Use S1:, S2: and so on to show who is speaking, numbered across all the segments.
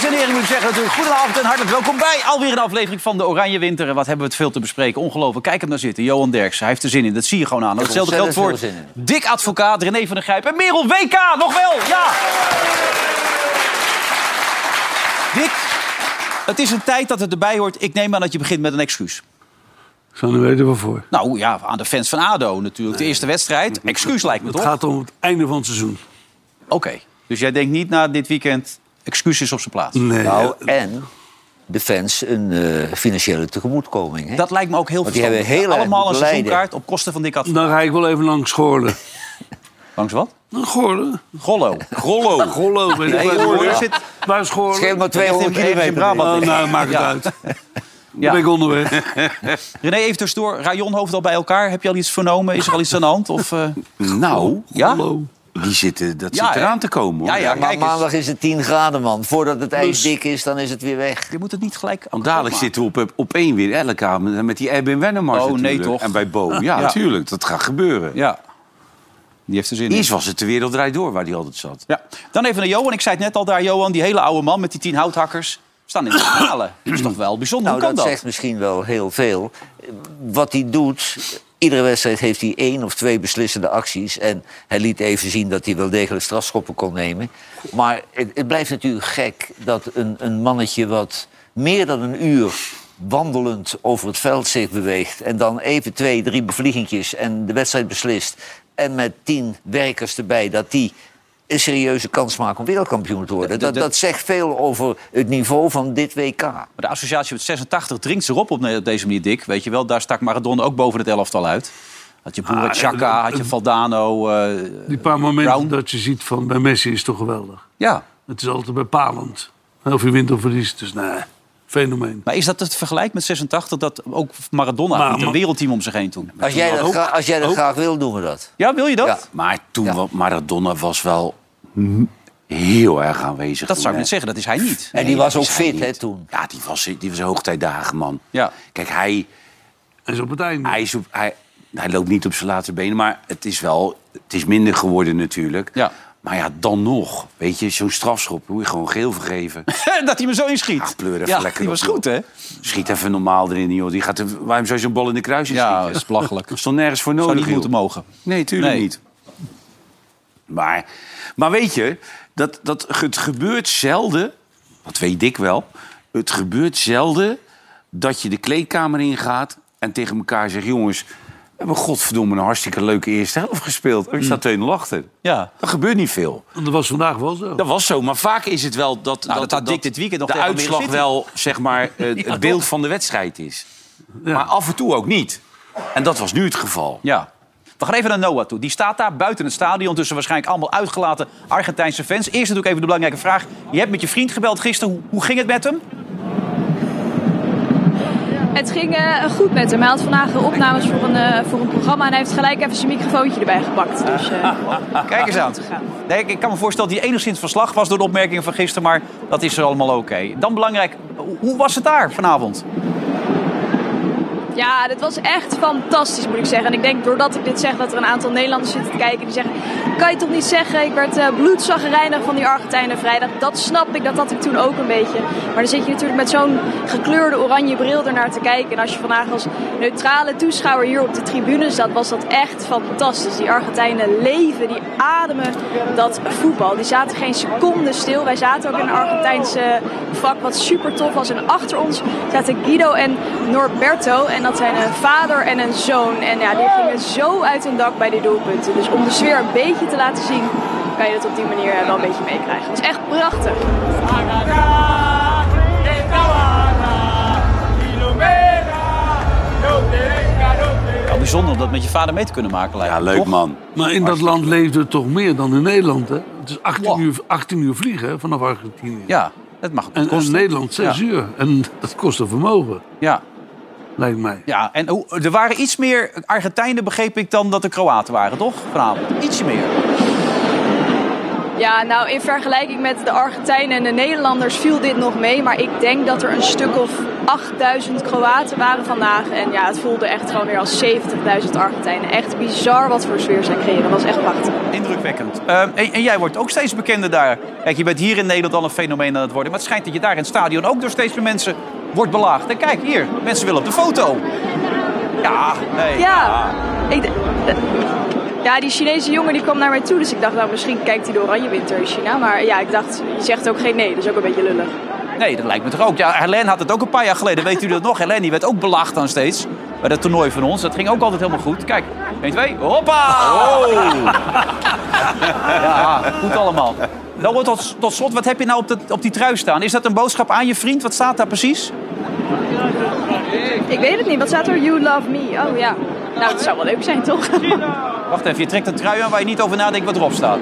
S1: zeggen natuurlijk goedenavond en hartelijk welkom bij alweer een aflevering van de Oranje Winter. En wat hebben we het veel te bespreken. Ongelooflijk, kijk hem daar zitten. Johan Derksen, hij heeft er zin in, dat zie je gewoon aan. Hetzelfde geldt voor
S2: ontzettend veel zin
S1: Dick Advocaat, René van der Grijp en Merel WK, nog wel, ja! Dick, het is een tijd dat het erbij hoort. Ik neem aan dat je begint met een excuus.
S3: Ik zou niet weten waarvoor.
S1: Nou ja, aan de fans van ADO natuurlijk. De eerste wedstrijd. Excuus lijkt me
S3: Het
S1: toch?
S3: gaat om het einde van het seizoen.
S1: Oké. Dus jij denkt niet na dit weekend excuses op zijn plaats?
S3: Nee.
S2: Nou, en de fans een eh, financiële tegemoetkoming. Hè?
S1: Dat lijkt me ook heel
S2: Want die hebben
S1: verstandig.
S2: heel erg
S1: Allemaal een
S2: moeten lijden.
S1: seizoenkaart op kosten van Dick Advocaat.
S3: Dan ga ik wel even langs Goorlen.
S1: Langs wat?
S3: Nou, Goorlen?
S1: Gollo.
S3: Gollo. Gollo, weet ik
S2: Nee,
S3: waar
S2: Goorlen.
S3: Goorlen
S1: zit-
S3: zit. Waar is Goorlen?
S2: scheelt maar
S1: Ligt
S2: 200
S1: in- ergens in
S2: kilometer.
S1: Brabant.
S3: Oh, nou, maakt het
S1: Ja.
S3: uit. Dan
S1: Ja.
S3: ben ik onderweg.
S1: René, even tussendoor. Rayon hoofd al bij elkaar. Heb je al iets vernomen? Is er al iets aan de hand? Of, eh,
S4: Nou,
S1: ja?
S3: Hallo.
S4: die zitten, dat
S1: Oh. Ja,
S4: zit
S1: hè?
S4: eraan te komen. Hoor.
S1: Ja, ja,
S2: maar
S1: kijk eens.
S2: maandag is het 10 graden, man. Voordat het ijs dik is, dan is het weer weg.
S1: Je moet het niet gelijk...
S4: Want dadelijk
S1: zit.
S4: zitten we op, op één weer elke avond met die Erwin Wennemars
S1: Oh, nee,
S4: natuurlijk.
S1: toch.
S4: En bij Bo. Ja, natuurlijk. Dat gaat gebeuren.
S1: Ja. Die heeft er zin in.
S4: Eerst was het de wereld draait door waar hij altijd zat.
S1: Ja. Dan even naar Johan. Ik zei het net al daar, Johan. Die hele oude man met die tien houthakkers. Staan in de finale. Dat is toch wel bijzonder.
S2: Nou,
S1: Hoe kan
S2: dat
S1: dat?
S2: zegt misschien wel heel veel. Wat hij doet, iedere wedstrijd heeft hij één of twee beslissende acties. En hij liet even zien dat hij wel degelijk strafschoppen kon nemen. Maar het, het blijft natuurlijk gek dat een, een mannetje wat meer dan een uur wandelend over het veld zich beweegt... en dan even twee, drie bevliegingjes en de wedstrijd beslist... en met tien werkers erbij, dat die een serieuze kans maken om wereldkampioen te worden. Dat,
S1: dat-
S2: dat zegt veel over het niveau van dit WK.
S1: Maar de associatie met 86 dringt ze erop op, op deze manier, Dick. Weet je wel, daar stak Maradona ook boven het elftal uit. Had je Boer Chaka, had je Valdano. eh,
S3: Die paar momenten
S1: Brown.
S3: dat je ziet van bij Messi is toch geweldig.
S1: ja.
S3: Het is altijd bepalend. Of je wint of verliest, dus nee. Fenomeen.
S1: Maar is dat het vergelijk met 86? Dat ook Maradona
S3: Maar-
S1: met een
S3: maar-
S1: wereldteam om zich heen toen.
S2: Als jij, dat
S3: ook-
S2: gra- als jij dat graag wil, doen we dat.
S1: Ja, wil je dat?
S2: Ja.
S4: Maar toen
S2: Ja.
S4: wa- Maradona was wel m- heel erg aanwezig.
S1: Dat
S4: toen,
S1: zou ik
S4: hè.
S1: net zeggen, dat is hij niet.
S2: En die was
S4: dat
S2: ook
S4: is hij
S2: fit, hè,
S4: niet.
S2: toen.
S4: Ja, die was, die was hoogtijdagen, man.
S1: Ja.
S4: Kijk, hij,
S3: En zo op het einde.
S4: hij, is op, hij, hij loopt niet op zijn laatste benen, maar het is wel... Het is minder geworden natuurlijk.
S1: Ja.
S4: Maar ja, dan nog. Weet je, zo'n strafschop moet je gewoon geel vergeven.
S1: dat hij me zo inschiet.
S4: Ach, pleur even
S1: ja,
S4: lekker
S1: die
S4: op,
S1: was goed, hè?
S4: joh. Schiet even normaal erin, joh. Die gaat er, waarom zou je zo'n bal in de kruis
S1: Ja, dat
S4: schieten?
S1: is belachelijk.
S4: Dat is toch nergens voor
S1: Zou
S4: nodig,
S1: niet
S4: joh.
S1: moeten mogen.
S4: Nee, tuurlijk
S1: Nee.
S4: niet. Maar, maar weet je, dat, dat, het gebeurt zelden... Dat weet ik wel. Het gebeurt zelden dat je de kleedkamer ingaat... en tegen elkaar zegt, jongens... We hebben godverdomme een hartstikke leuke eerste helft gespeeld. En ik
S1: Mm.
S4: sta 2-0 achter.
S1: Ja.
S4: Dat gebeurt niet veel.
S3: Want Dat was vandaag wel zo.
S4: Dat was zo, maar vaak is het wel dat,
S1: Nou, dat had Dick dit weekend nog
S4: de
S1: tegen Almere
S4: uitslag
S1: City.
S4: wel zeg maar, eh, het beeld van de wedstrijd is. Maar af en toe ook niet. En dat was nu het geval.
S1: Ja. We gaan even naar Noah toe. Die staat daar buiten het stadion tussen waarschijnlijk allemaal uitgelaten Argentijnse fans. Eerst natuurlijk even de belangrijke vraag. Je hebt met je vriend gebeld gisteren. Hoe, hoe ging het met hem?
S5: Het ging eh, goed met hem. Hij had vandaag opnames voor een, eh, voor een programma en hij heeft gelijk even zijn microfoontje erbij gepakt. Dus, eh,
S4: Ah.
S1: Kijk eens aan.
S5: Goed gegaan.
S1: Nee, ik, ik kan me voorstellen dat hij enigszins verslag was door de opmerkingen van gisteren. Maar dat is er allemaal oké. Dan belangrijk, hoe- hoe was het daar vanavond?
S5: ja, dit was echt fantastisch moet ik zeggen. En ik denk doordat ik dit zeg dat er een aantal Nederlanders zitten te kijken die zeggen... Kan je toch niet zeggen, ik werd eh bloedzagrijnig van die Argentijnen vrijdag. Dat snap ik, dat had ik toen ook een beetje. Maar dan zit je natuurlijk met zo'n gekleurde oranje bril ernaar te kijken. En als je vandaag als neutrale toeschouwer hier op de tribune zat, was dat echt fantastisch. Die Argentijnen leven, die ademen dat voetbal. Die zaten geen seconde stil. Wij zaten ook in een Argentijnse vak, wat super tof was. En achter ons zaten Guido en Norberto. En dat zijn een vader en een zoon. En ja, die gingen zo uit hun dak bij die doelpunten. Dus om de sfeer een beetje te laten zien, kan je dat op die manier eh, wel een beetje meekrijgen. Het is echt prachtig.
S1: Wel bijzonder om dat met je vader mee te kunnen maken lijkt
S4: Ja,
S1: me,
S4: leuk
S1: toch?
S4: man.
S3: Maar in dat land leefde het toch meer dan in Nederland, hè? Het is 18, uur, 18 uur vliegen hè, vanaf Argentinië.
S1: Ja, dat mag ook
S3: En,
S1: wat
S3: en
S1: kosten.
S3: Nederland 6
S1: Ja.
S3: uur. En dat kost een vermogen,
S1: Ja,
S3: lijkt mij.
S1: ja. en hoe- er waren iets meer Argentijnen, begreep ik, dan dat er Kroaten waren, toch? Vanavond. Ietsje meer.
S5: Ja, nou in vergelijking met de Argentijnen en de Nederlanders viel dit nog mee. Maar ik denk dat er een stuk of 8000 Kroaten waren vandaag. En ja, het voelde echt gewoon weer als 70.000 Argentijnen. Echt bizar wat voor sfeer zij creëren. Dat was echt prachtig.
S1: Indrukwekkend. Ehm, en, en jij wordt ook steeds bekender daar. Kijk, je bent hier in Nederland al een fenomeen aan het worden. Maar het schijnt dat je daar in het stadion ook door steeds meer mensen wordt belaagd. En kijk, hier, mensen willen op de foto. Ja, nee.
S5: Ja, ik, d- eh, ja die Chinese jongen die kwam naar mij toe. Dus ik dacht, nou misschien kijkt hij de oranje winter in China. Maar ja, ik dacht, je zegt ook geen nee. Dus ook een beetje lullig.
S1: Nee, dat lijkt me toch ook. Ja, Helene had het ook een paar jaar geleden. Weet u dat nog? Helene die werd ook belaagd dan steeds. Bij dat toernooi van ons. Dat ging ook altijd helemaal goed. Kijk, 1, 2, hoppa! Ja, goed allemaal. Nou, tot, tot slot, wat heb je nou op, dat- op die trui staan? Is dat een boodschap aan je vriend? Wat staat daar precies?
S5: Ik weet het niet. Wat staat er? You love me. Oh ja. Nou, het zou wel leuk zijn, toch?
S1: Wacht even, je trekt een trui aan waar je niet over nadenkt wat erop staat.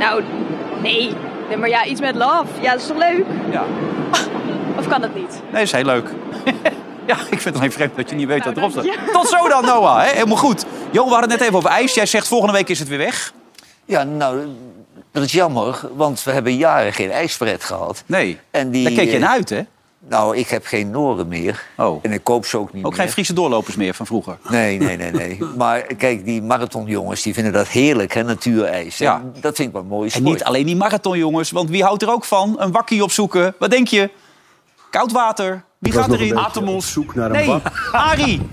S5: nou, nee. nee. Maar ja, iets met love. Ja, dat is toch leuk?
S1: Ja,
S5: Of kan dat niet?
S1: nee, is heel leuk. ja, ik vind het alleen vreemd dat je niet weet wat erop staat.
S5: Nou, dank je.
S1: Tot zo dan, Noah. Hè? Helemaal goed. Jo, we hadden het net even over ijs. Jij zegt volgende week is het weer weg.
S2: Ja, nou, dat is jammer, want we hebben jaren geen ijspret gehad.
S1: Nee,
S2: En die,
S1: daar keek je
S2: eh,
S1: naar uit, hè?
S2: Nou, ik heb geen noren meer.
S1: Oh.
S2: En ik koop ze ook niet
S1: Ook
S2: meer.
S1: geen Friese doorlopers meer van vroeger.
S2: Nee, nee, nee, nee. Maar kijk, die marathonjongens die vinden dat heerlijk, hè, natuurijs.
S1: Ja.
S2: En Dat vind ik wel mooi.
S1: En niet alleen die marathonjongens, want wie houdt er ook van? Een wakkie opzoeken. Wat denk je? Koud water. Wie gaat erin?
S6: op zoek naar een
S1: Nee,
S6: bak
S1: Arie.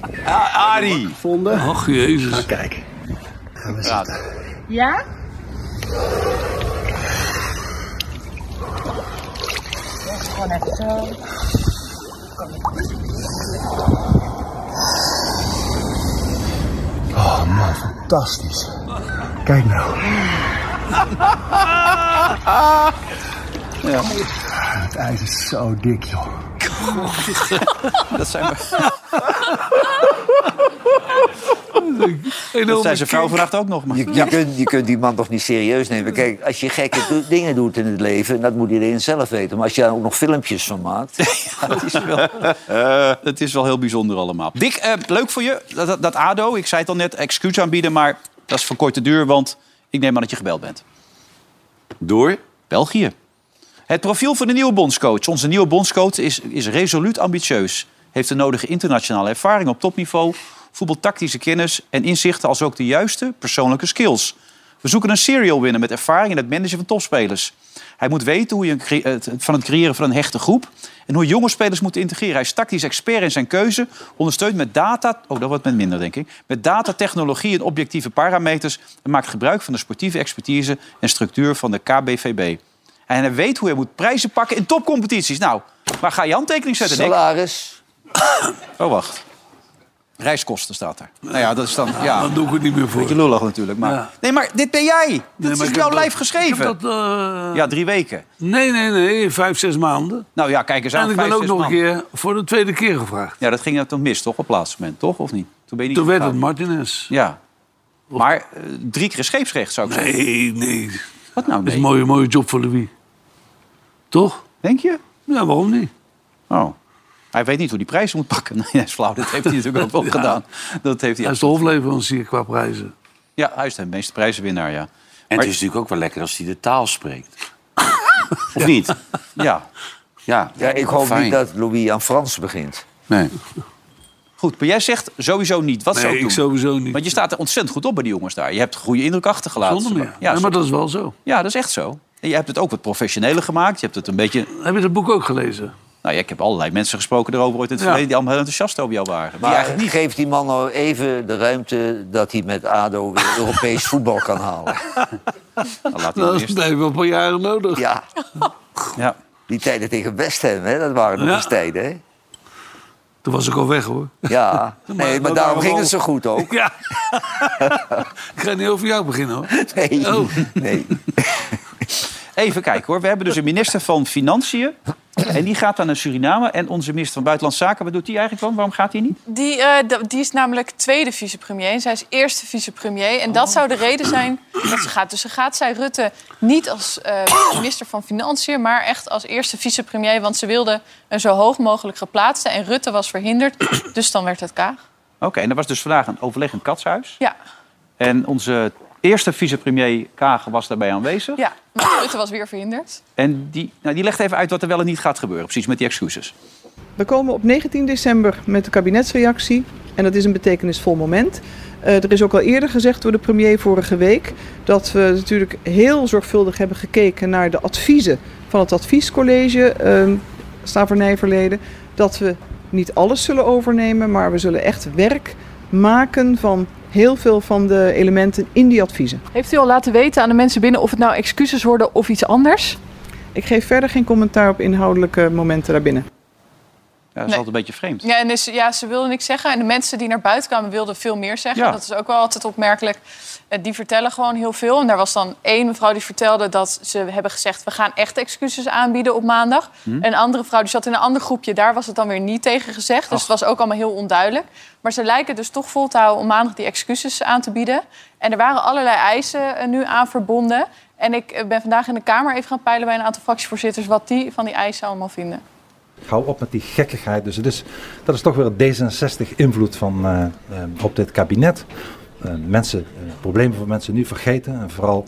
S4: Arie.
S6: gevonden.
S3: Ach, jezus.
S6: Kijk. Gaan we zitten.
S7: Ja? Gewoon even zo.
S6: Oh man, fantastisch. Kijk nou. Het ijs is zo dik, joh.
S1: Dat zijn, we- dat
S3: Enorme
S1: zijn zijn vrouw
S3: kick.
S1: vannacht ook nog. Maar.
S2: Je, je, kunt, je kunt die man toch niet serieus nemen. Kijk, als je gekke do- dingen doet in het leven, en dat moet iedereen zelf weten. Maar als je daar ook nog filmpjes van maakt.
S1: Het is wel, eh, het is wel heel bijzonder allemaal. Dick, eh, leuk voor je, dat, dat, dat ADO. Ik zei het al net, excuus aanbieden, maar dat is van korte duur. Want ik neem aan dat je gebeld bent.
S4: Door?
S1: België. Het profiel van de nieuwe bondscoach. Onze nieuwe bondscoach is, is resoluut ambitieus. Heeft de nodige internationale ervaring op topniveau. Voetbaltactische kennis en inzichten als ook de juiste persoonlijke skills. We zoeken een serial winner met ervaring in het managen van topspelers. Hij moet weten hoe je een cre- het- van het creëren van een hechte groep... en hoe jonge spelers moeten integreren. Hij is tactisch expert in zijn keuze. Ondersteunt met data... Oh, dat wordt met minder, denk ik. Met data, technologie en objectieve parameters... en maakt gebruik van de sportieve expertise en structuur van de KBVB. En hij weet hoe hij moet prijzen pakken in topcompetities. Nou, waar ga je handtekening zetten, Dick?
S2: Salaris.
S1: Oh, wacht. Reiskosten staat er. Nou ja, dat is dan... Ja,
S3: Dan Ah, doe ik het niet meer voor.
S1: beetje lullig natuurlijk. Maar...
S3: Ja.
S1: Nee, maar dit ben jij. Dit
S3: maar
S1: is
S3: ik
S1: jouw
S3: heb
S1: lijf
S3: dat-
S1: geschreven.
S3: Ik heb dat, eh,
S1: Ja, drie weken.
S3: Nee, nee, nee. Vijf, zes maanden.
S1: Nou ja, kijk eens aan.
S3: en ik
S1: vijf,
S3: ben ook
S1: zes
S3: nog een
S1: man.
S3: keer voor de tweede keer gevraagd.
S1: Ja, dat ging dan toch mis, toch? Op plaatsmoment, toch? Of niet? Toen ben je niet
S3: Toen werd het
S1: gegaan.
S3: Martinez.
S1: Ja. Maar eh, drie keer scheepsrecht, zou ik zeggen.
S3: Nee, nee. Dat
S1: Wat nou,
S3: is
S1: nee?
S3: een mooie, mooie job voor Louis. Toch?
S1: Denk je?
S3: Ja, waarom niet?
S1: Oh. Hij weet niet hoe die prijzen moet pakken. Nee, dat is flauw. Dat heeft hij natuurlijk ook wel
S3: Ja.
S1: gedaan. Dat heeft
S3: Hij
S1: hij...
S3: is de hofleverancier qua prijzen.
S1: Ja, hij is de meeste prijzenwinnaar, ja.
S4: En
S1: Maar-
S4: het is natuurlijk ook wel lekker als hij de taal spreekt. of niet?
S1: Ja.
S4: Ja,
S2: Ja, ik hoop
S4: Fijn.
S2: niet dat Louis aan Frans begint.
S4: Nee.
S1: Goed, maar jij zegt sowieso niet. Wat zou
S3: Nee,
S1: ik
S3: ik
S1: doen?
S3: sowieso niet.
S1: Want je staat er ontzettend goed op bij die jongens daar. Je hebt goede indruk achtergelaten.
S3: Zonder meer.
S1: Ja,
S3: Nee, maar dat is wel zo.
S1: ja, dat is echt zo. En je hebt het ook wat professioneler gemaakt. Je hebt het een beetje...
S3: Heb je dat boek ook gelezen?
S1: Nou ja, ik heb allerlei mensen gesproken erover ooit in het
S3: Ja.
S1: verleden... die allemaal heel enthousiast over jou waren. Maar
S2: Maar
S1: eigenlijk niet.
S2: geef die man nou even de ruimte dat hij met ADO weer Europees voetbal kan halen.
S1: Nou, laat die
S3: Dat
S1: maar
S3: is
S1: eerst.
S3: blijven wel een paar jaren nodig.
S2: Ja,
S1: Ja.
S2: die tijden tegen West Ham, hè, dat waren nog
S3: Ja.
S2: eens tijden. Hè?
S3: Toen was ik al weg hoor.
S2: Ja, nee, maar daarom
S3: dat waren
S2: ging
S3: wel-
S2: het zo goed ook.
S3: Ja. ik ga niet over jou beginnen hoor.
S2: Nee,
S3: Oh.
S2: nee.
S1: Even kijken hoor. We hebben dus een minister van Financiën. En die gaat dan naar Suriname. En onze minister van Buitenlandse Zaken, wat doet die eigenlijk dan? Waarom gaat hij niet?
S8: Die, eh, d- die is namelijk tweede vicepremier en zij is eerste vicepremier. En dat zou de reden zijn dat ze gaat. Dus ze gaat zij Rutte niet als eh, minister van Financiën... maar echt als eerste vicepremier, want ze wilde een zo hoog mogelijk geplaatste. En Rutte was verhinderd, dus dan werd het Kaag.
S1: Oké, en er was dus vandaag een overleg in het katshuis.
S8: Ja,
S1: En onze Eerste vicepremier Kagen was daarbij aanwezig.
S8: Ja, maar Rutte was weer verhinderd.
S1: En die, nou, die legt even uit wat er wel en niet gaat gebeuren. Precies met die excuses.
S9: We komen op 19 december met de kabinetsreactie. En dat is een betekenisvol moment. Eh, er is ook al eerder gezegd door de premier vorige week dat we natuurlijk heel zorgvuldig hebben gekeken naar de adviezen van het adviescollege eh, slavernijverleden. Dat we niet alles zullen overnemen, maar we zullen echt werk maken van heel veel van de elementen in die adviezen.
S8: Heeft u al laten weten aan de mensen binnen of het nou excuses worden of iets anders?
S9: Ik geef verder geen commentaar op inhoudelijke momenten daarbinnen.
S1: Ja, dat is
S8: Nee.
S1: altijd een beetje vreemd.
S8: Ja, en dus, ja, ze wilden niks zeggen. En de mensen die naar buiten kwamen wilden veel meer zeggen.
S1: Ja.
S8: Dat is ook wel altijd opmerkelijk. Eh, Die vertellen gewoon heel veel. En daar was dan één mevrouw die vertelde dat ze hebben gezegd... we gaan echt excuses aanbieden op maandag. En een andere vrouw die zat in een ander groepje. Daar was het dan weer niet tegen gezegd. Dus het was ook allemaal heel onduidelijk. Maar ze lijken dus toch vol te houden om maandag die excuses aan te bieden. En er waren allerlei eisen eh, nu aan verbonden. En ik eh, ben vandaag in de Kamer even gaan peilen bij een aantal fractievoorzitters... wat die van die eisen allemaal vinden.
S10: Hou op met die gekkigheid. Dus het is, dat is toch weer D66-invloed van eh, eh, op dit kabinet. Eh, mensen, eh, problemen van mensen nu vergeten en vooral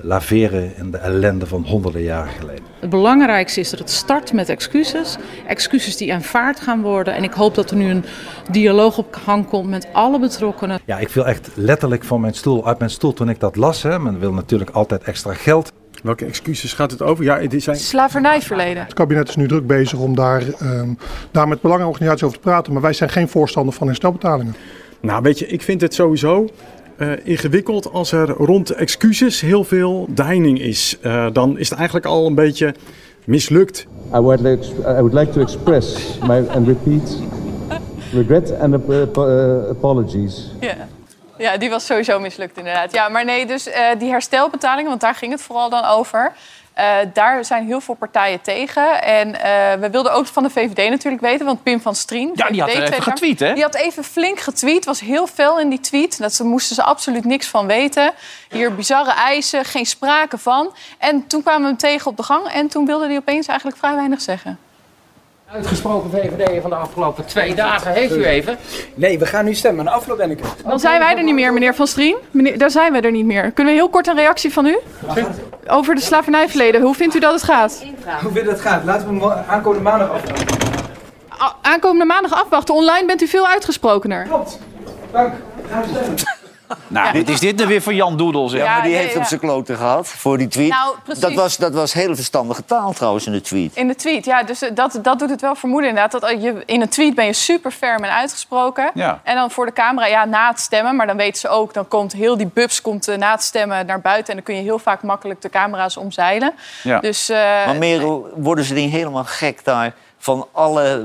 S10: laveren in de ellende van honderden jaren geleden.
S7: Het belangrijkste is dat het start met excuses. Excuses die aanvaard gaan worden. En ik hoop dat er nu een dialoog op gang komt met alle betrokkenen.
S10: Ja, ik viel echt letterlijk van mijn stoel, uit mijn stoel toen ik dat las. Hè. Men wil natuurlijk altijd extra geld.
S11: Welke excuses gaat het over? Ja, dit zijn...
S8: Slavernijverleden.
S9: Het kabinet is nu druk bezig om daar, daar met belangenorganisaties over te praten. Maar wij zijn geen voorstander van herstelbetalingen.
S11: Nou, weet je, ik vind het sowieso eh, ingewikkeld als er rond excuses heel veel deining is. Eh, dan is het eigenlijk al een beetje mislukt.
S10: I would, like, I would like to express my, and repeat regret and apologies.
S8: Ja. ja, die was sowieso mislukt inderdaad. Ja, maar nee, dus eh, die herstelbetalingen, want daar ging het vooral dan over. eh, daar zijn heel veel partijen tegen. En eh, we wilden ook van de VVD natuurlijk weten, want Pim van Strien...
S1: Ja, die had er
S8: VVD
S1: even
S8: Tweede Kamer,
S1: getweet, hè?
S8: Die had even flink getweet, was heel fel in die tweet. Dat ze moesten ze absoluut niks van weten. Hier bizarre eisen, geen sprake van. En toen kwamen we hem tegen op de gang en toen wilde hij opeens eigenlijk vrij weinig zeggen.
S7: Uitgesproken VVD van de afgelopen twee dagen. Heeft u even?
S10: Nee, we gaan nu stemmen. Afloop ben ik.
S8: Dan zijn wij er niet meer, meneer Van Strien. Meneer, daar zijn wij er niet meer. Kunnen we heel kort een reactie van u? Over de slavernijverleden. Hoe vindt u dat het gaat?
S10: Hoe wil dat gaan? Laten we aankomende maandag aflopen.
S8: A- Aankomende maandag afwachten. Online bent u veel uitgesprokener.
S1: Nou, dit is dit er weer voor Jan Doedel, zeg.
S8: Ja,
S2: maar die
S8: nee,
S2: heeft op
S8: ja.
S2: zijn kloten gehad voor die tweet.
S8: Nou, precies.
S2: dat, was, dat was hele verstandige taal trouwens in de tweet.
S8: In de tweet, ja. Dus eh, dat, dat doet het wel vermoeden inderdaad. Dat eh, je, in een tweet ben je super ferm en uitgesproken.
S1: Ja.
S8: En dan voor de camera, ja, na het stemmen. Maar dan weten ze ook, dan komt heel die bubs komt, eh, na het stemmen naar buiten. En dan kun je heel vaak makkelijk de camera's omzeilen.
S1: Ja.
S8: Dus, eh,
S2: Maar Merel, worden ze niet helemaal gek daar van alle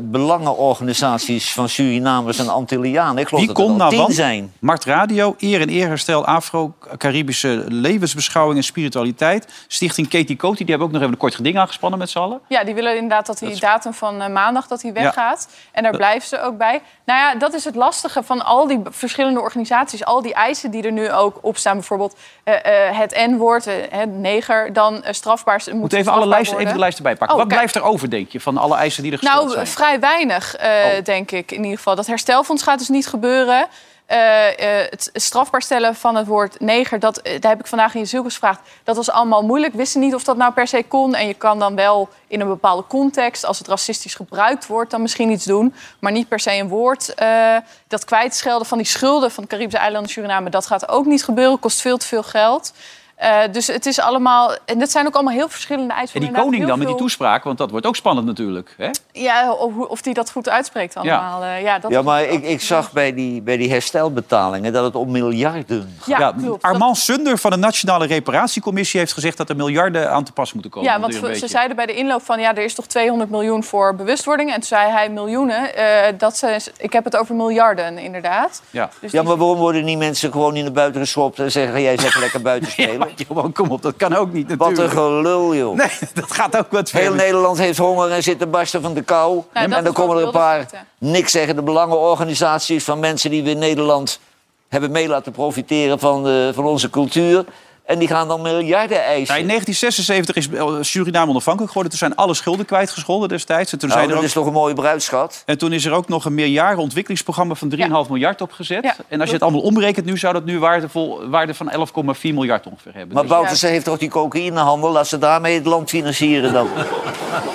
S2: belangenorganisaties van Surinamers en Antillianen? Ik geloof
S1: Wie
S2: dat er
S1: komt
S2: wel
S1: nou
S2: tien
S1: wat?
S2: zijn.
S1: Mart Radio, Eer en Eerherstel, Afro-Caribische Levensbeschouwing en Spiritualiteit. Stichting Katie Coty, die hebben ook nog even een kort geding aangespannen met z'n allen.
S8: Ja, die willen inderdaad dat die datum van eh, maandag dat die weggaat. En daar blijven ze ook bij. Nou ja, dat is het lastige van al die b- verschillende organisaties. Al die eisen die er nu ook op staan. Bijvoorbeeld eh, eh, het N-woord, eh, hè, neger, dan eh, strafbaar. Moet,
S1: Moet even alle lijsten, even de lijsten bijpakken.
S8: Oh,
S1: Wat
S8: kijk.
S1: blijft er over, denk je, van alle eisen die er gesteld
S8: Nou,
S1: zijn? Oh.
S8: vrij weinig, eh, denk ik in ieder geval. Dat herstelfonds gaat dus niet gebeuren. Eh, eh, het strafbaar stellen van het woord neger, dat, eh, daar heb ik vandaag in je zielkens gevraagd. Dat was allemaal moeilijk. Wisten niet of dat nou per se kon. En je kan dan wel in een bepaalde context, als het racistisch gebruikt wordt, dan misschien iets doen. Maar niet per se een woord. eh, dat kwijtschelden van die schulden van de Caribische eilanden Suriname, dat gaat ook niet gebeuren. Kost veel te veel geld. Eh, dus het is allemaal. En dat zijn ook allemaal heel verschillende eisen.
S1: en die
S8: Inderdaad,
S1: koning
S8: heel
S1: dan met die
S8: veel-
S1: toespraak, want dat wordt ook spannend natuurlijk. Hè?
S8: ja, of, of die dat goed uitspreekt allemaal. Eh, Ja, dat
S2: Ja, maar ik, ik zag bij die, bij die herstelbetalingen dat het om miljarden
S8: Ja,
S1: Ja,
S8: klopt. Dat-
S1: Armand Sunder van de Nationale Reparatiecommissie heeft gezegd dat er miljarden aan te pas moeten komen.
S8: ja,
S1: Dat
S8: want
S1: is een
S8: we- ze
S1: beetje-
S8: zeiden bij de inloop van... ja, er is toch 200 miljoen voor bewustwording. En toen zei hij miljoenen. eh, dat ze, ik heb het over miljarden, inderdaad.
S1: Ja.
S8: Dus
S2: Ja,
S8: die-
S2: maar waarom worden niet mensen gewoon in de buiten geschopt en zeggen: jij zegt lekker buiten
S1: Ja,
S2: spelen?
S1: maar Johan, kom op, dat kan ook niet
S2: Wat een
S1: natuurlijk.
S2: gelul, joh.
S1: Nee, dat gaat ook wat
S2: Heel
S1: verder.
S2: Nederland heeft honger en zit te barsten van de kou.
S8: Nou, dat
S2: en
S8: is
S2: dan komen
S8: wat
S2: er een
S8: Wilders
S2: paar
S8: zegt, hè.
S2: niks zeggen de belangenorganisaties van mensen die we in Nederland hebben mee laten profiteren van, eh, van onze cultuur. En die gaan dan miljarden eisen.
S1: Nou, in 1976 is eh, Suriname onafhankelijk geworden. Toen zijn alle schulden kwijtgescholden destijds. En toen,
S2: Nou,
S1: zijn er
S2: dat
S1: ook,
S2: is toch een mooie bruidschat.
S1: en toen is er ook nog een meerjaren ontwikkelingsprogramma van 3,5 miljard opgezet.
S8: Ja,
S1: en als je het allemaal omrekent nu, zou dat nu waarde, vol, waarde van 11,4 miljard ongeveer hebben.
S2: Maar
S1: Dus-
S2: Boutersen heeft toch die cocaïnehandel? Laat ze daarmee het land financieren dan.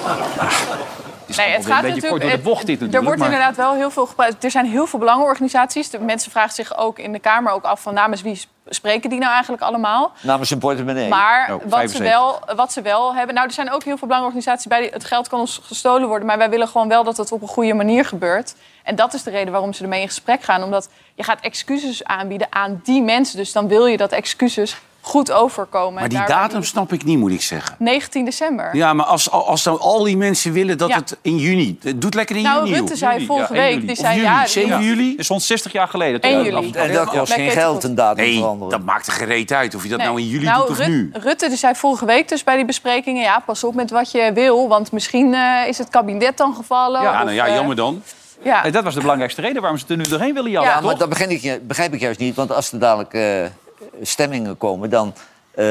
S1: Het is
S8: Nee,
S1: allemaal
S8: het
S1: weer
S8: gaat
S1: een beetje kort door
S8: natuurlijk.
S1: de bocht dit
S8: er
S1: natuurlijk.
S8: wordt
S1: maar-
S8: inderdaad wel heel veel gepraat. Er zijn heel veel belangenorganisaties. De mensen vragen zich ook in de Kamer ook af van namens wie sp- spreken die nou eigenlijk allemaal.
S2: Namens een portemonnee.
S8: Maar
S4: nou,
S1: Oh,
S8: wat, ze
S1: 75.
S8: wel, wat ze wel hebben. Nou, er zijn ook heel veel belangenorganisaties bij die het geld kan ons gestolen worden. Maar wij willen gewoon wel dat het op een goede manier gebeurt. En dat is de reden waarom ze ermee in gesprek gaan. Omdat je gaat excuses aanbieden aan die mensen. Dus dan wil je dat excuses goed overkomen.
S4: Maar
S8: En
S4: die
S8: daarom-
S4: datum snap ik niet, moet ik zeggen.
S8: 19 december.
S4: Ja, maar als, als nou al die mensen willen dat
S8: Ja.
S4: het in juni... Doe het lekker in
S8: Nou,
S4: juni.
S8: Rutte
S4: joh.
S8: zei
S1: Juli,
S8: vorige
S1: ja, 1
S8: week.
S1: juli.
S8: Die
S4: Of
S8: zei
S4: juli,
S8: ja.
S4: 7 juli?
S1: Het is 160 jaar geleden.
S8: 1
S1: 2008.
S8: juli.
S2: En dat kost
S8: Lekker
S2: geen
S8: te
S2: geld
S8: goed.
S2: een datum
S4: Nee,
S2: veranderen.
S4: dat maakt er gereed uit of je dat
S8: Nee.
S4: nou in juli doet of
S8: Rut-
S4: nu.
S8: Rutte die zei vorige week dus bij die besprekingen... ja, pas op met wat je wil, want misschien eh, is het kabinet dan gevallen.
S4: Ja,
S8: of,
S4: nou ja,
S8: eh,
S4: jammer dan.
S8: ja.
S1: En Eh, dat was de belangrijkste reden waarom ze er nu doorheen willen jagen.
S8: Ja,
S2: Ja,
S1: toch?
S2: maar dat begrijp ik, ju- begrijp ik juist niet. Want als er dadelijk eh, stemmingen komen, dan eh,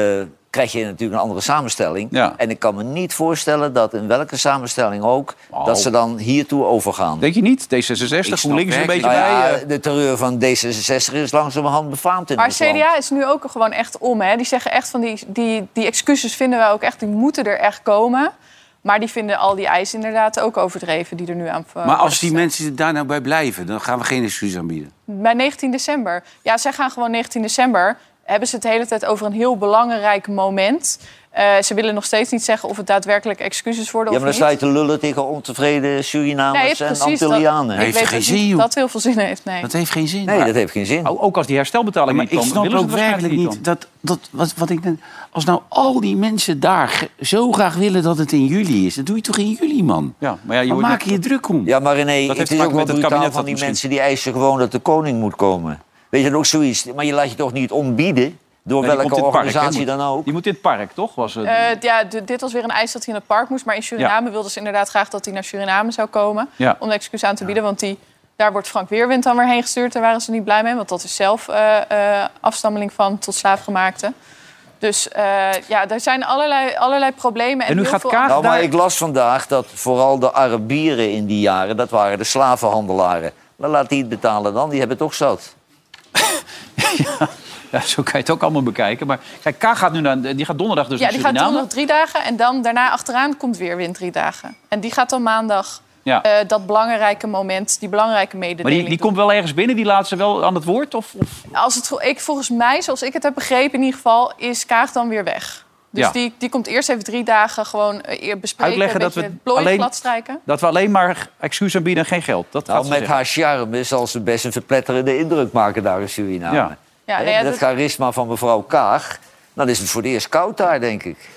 S2: krijg je natuurlijk een andere samenstelling.
S1: Ja.
S2: En ik kan me niet voorstellen dat in welke samenstelling ook... dat ze dan hiertoe overgaan.
S1: Denk je niet? D66,
S4: snap
S1: GroenLinks is een beetje
S4: werkelijk-
S2: Nou ja,
S1: bij. eh,
S2: de terreur van D66 is langzamerhand befaamd in
S8: Maar
S2: ons land.
S8: CDA is nu ook gewoon echt om. Hè. Die zeggen echt van die, die, die excuses vinden wij ook echt... die moeten er echt komen. Maar die vinden al die eisen inderdaad ook overdreven... die er nu aan
S4: Maar als die mensen daar nou bij blijven, dan gaan we geen excuus aanbieden.
S8: Bij 19 december. Ja, zij gaan gewoon 19 december. Hebben ze het de hele tijd over een heel belangrijk moment. Eh, ze willen nog steeds niet zeggen of het daadwerkelijk excuses worden
S2: Ja,
S8: of
S2: maar dan
S8: niet.
S2: sta je te lullen tegen ontevreden
S8: Nee,
S2: Surinamers en
S8: precies.
S2: Antillianen.
S8: Dat, ik
S4: Heeft
S8: weet
S4: geen
S8: ook
S4: zin,
S8: niet of
S4: joh.
S8: dat heel veel zin heeft, nee.
S4: Dat heeft geen zin.
S2: Nee, dat heeft geen zin.
S1: eh, Ook als die herstelbetaling
S4: Maar
S1: niet
S4: ik
S1: komt,
S4: snap
S1: willen ze
S4: ook
S1: het waarschijnlijk
S4: werkelijk niet dat, dat wat, wat ik net- als nou al die mensen daar ge- zo graag willen dat het in juli is, dat doe je toch in juli, man?
S1: dan. Ja, maar ja, je
S4: Waar
S1: wordt
S4: maak
S1: niet-
S4: je je druk om?
S2: Ja, maar René,
S1: Dat
S2: het
S1: heeft
S2: is
S1: te
S2: ook
S1: maken
S2: wel
S1: met het
S2: brutaal
S1: kabinet dat
S2: van die
S1: misschien-
S2: mensen die eisen gewoon dat de koning moet komen. Weet je, dat ook zoiets. Maar je laat je toch niet ontbieden door
S1: Nee, die komt in
S2: welke
S1: het park, hè,
S2: organisatie
S1: moet-
S2: dan ook?
S1: Die moet in het park, toch? Was het?
S8: Eh, ja, d- dit was weer een eis dat hij in het park moest. Maar in Suriname wilden ze inderdaad graag dat hij naar Suriname zou komen.
S1: Ja.
S8: Om de excuus aan te bieden. Want die, daar wordt Frank Weerwind dan weer heen gestuurd. Daar waren ze niet blij mee. Want dat is zelf eh, eh, afstammeling van tot slaafgemaakte. Dus eh, ja, daar zijn allerlei, allerlei problemen.
S1: En nu
S8: heel
S1: gaat
S8: veel-
S1: Kaag-
S2: Nou, maar
S1: daar-
S2: ik las vandaag dat vooral de Arabieren in die jaren, dat waren de slavenhandelaren. Maar laat die het betalen dan, die hebben het toch zat.
S1: Ja, zo kan je het ook allemaal bekijken. Maar kijk, K gaat nu naar, die gaat donderdag dus
S8: Ja,
S1: naar
S8: die gaat
S1: Suriname.
S8: donderdag drie dagen. En dan daarna achteraan komt Weerwind drie dagen. En die gaat dan maandag
S1: Ja.
S8: eh, dat belangrijke moment, die belangrijke
S1: maar
S8: mededeling
S1: die, die komt wel ergens binnen, die laat ze wel aan het woord? Of, of...
S8: Als het, go- ik, volgens mij, zoals ik het heb begrepen in ieder geval, is Kaag dan weer weg. Dus
S1: Ja.
S8: die, die komt eerst even drie dagen gewoon eh, eer bespreken.
S1: Uitleggen
S8: een
S1: dat we
S8: beetje plooien
S1: alleen-
S8: gladstrijken.
S1: Dat we alleen maar excuus aanbieden en geen geld. Dat gaat
S2: Nou,
S1: ze
S2: met
S1: zeggen.
S2: haar charme zal ze best een verpletterende indruk maken daar in Suriname.
S1: Ja.
S8: Ja,
S2: Hè,
S8: nou ja,
S2: dat
S8: dat-
S2: charisma van mevrouw Kaag, dan is het voor het eerst koud daar, denk ik.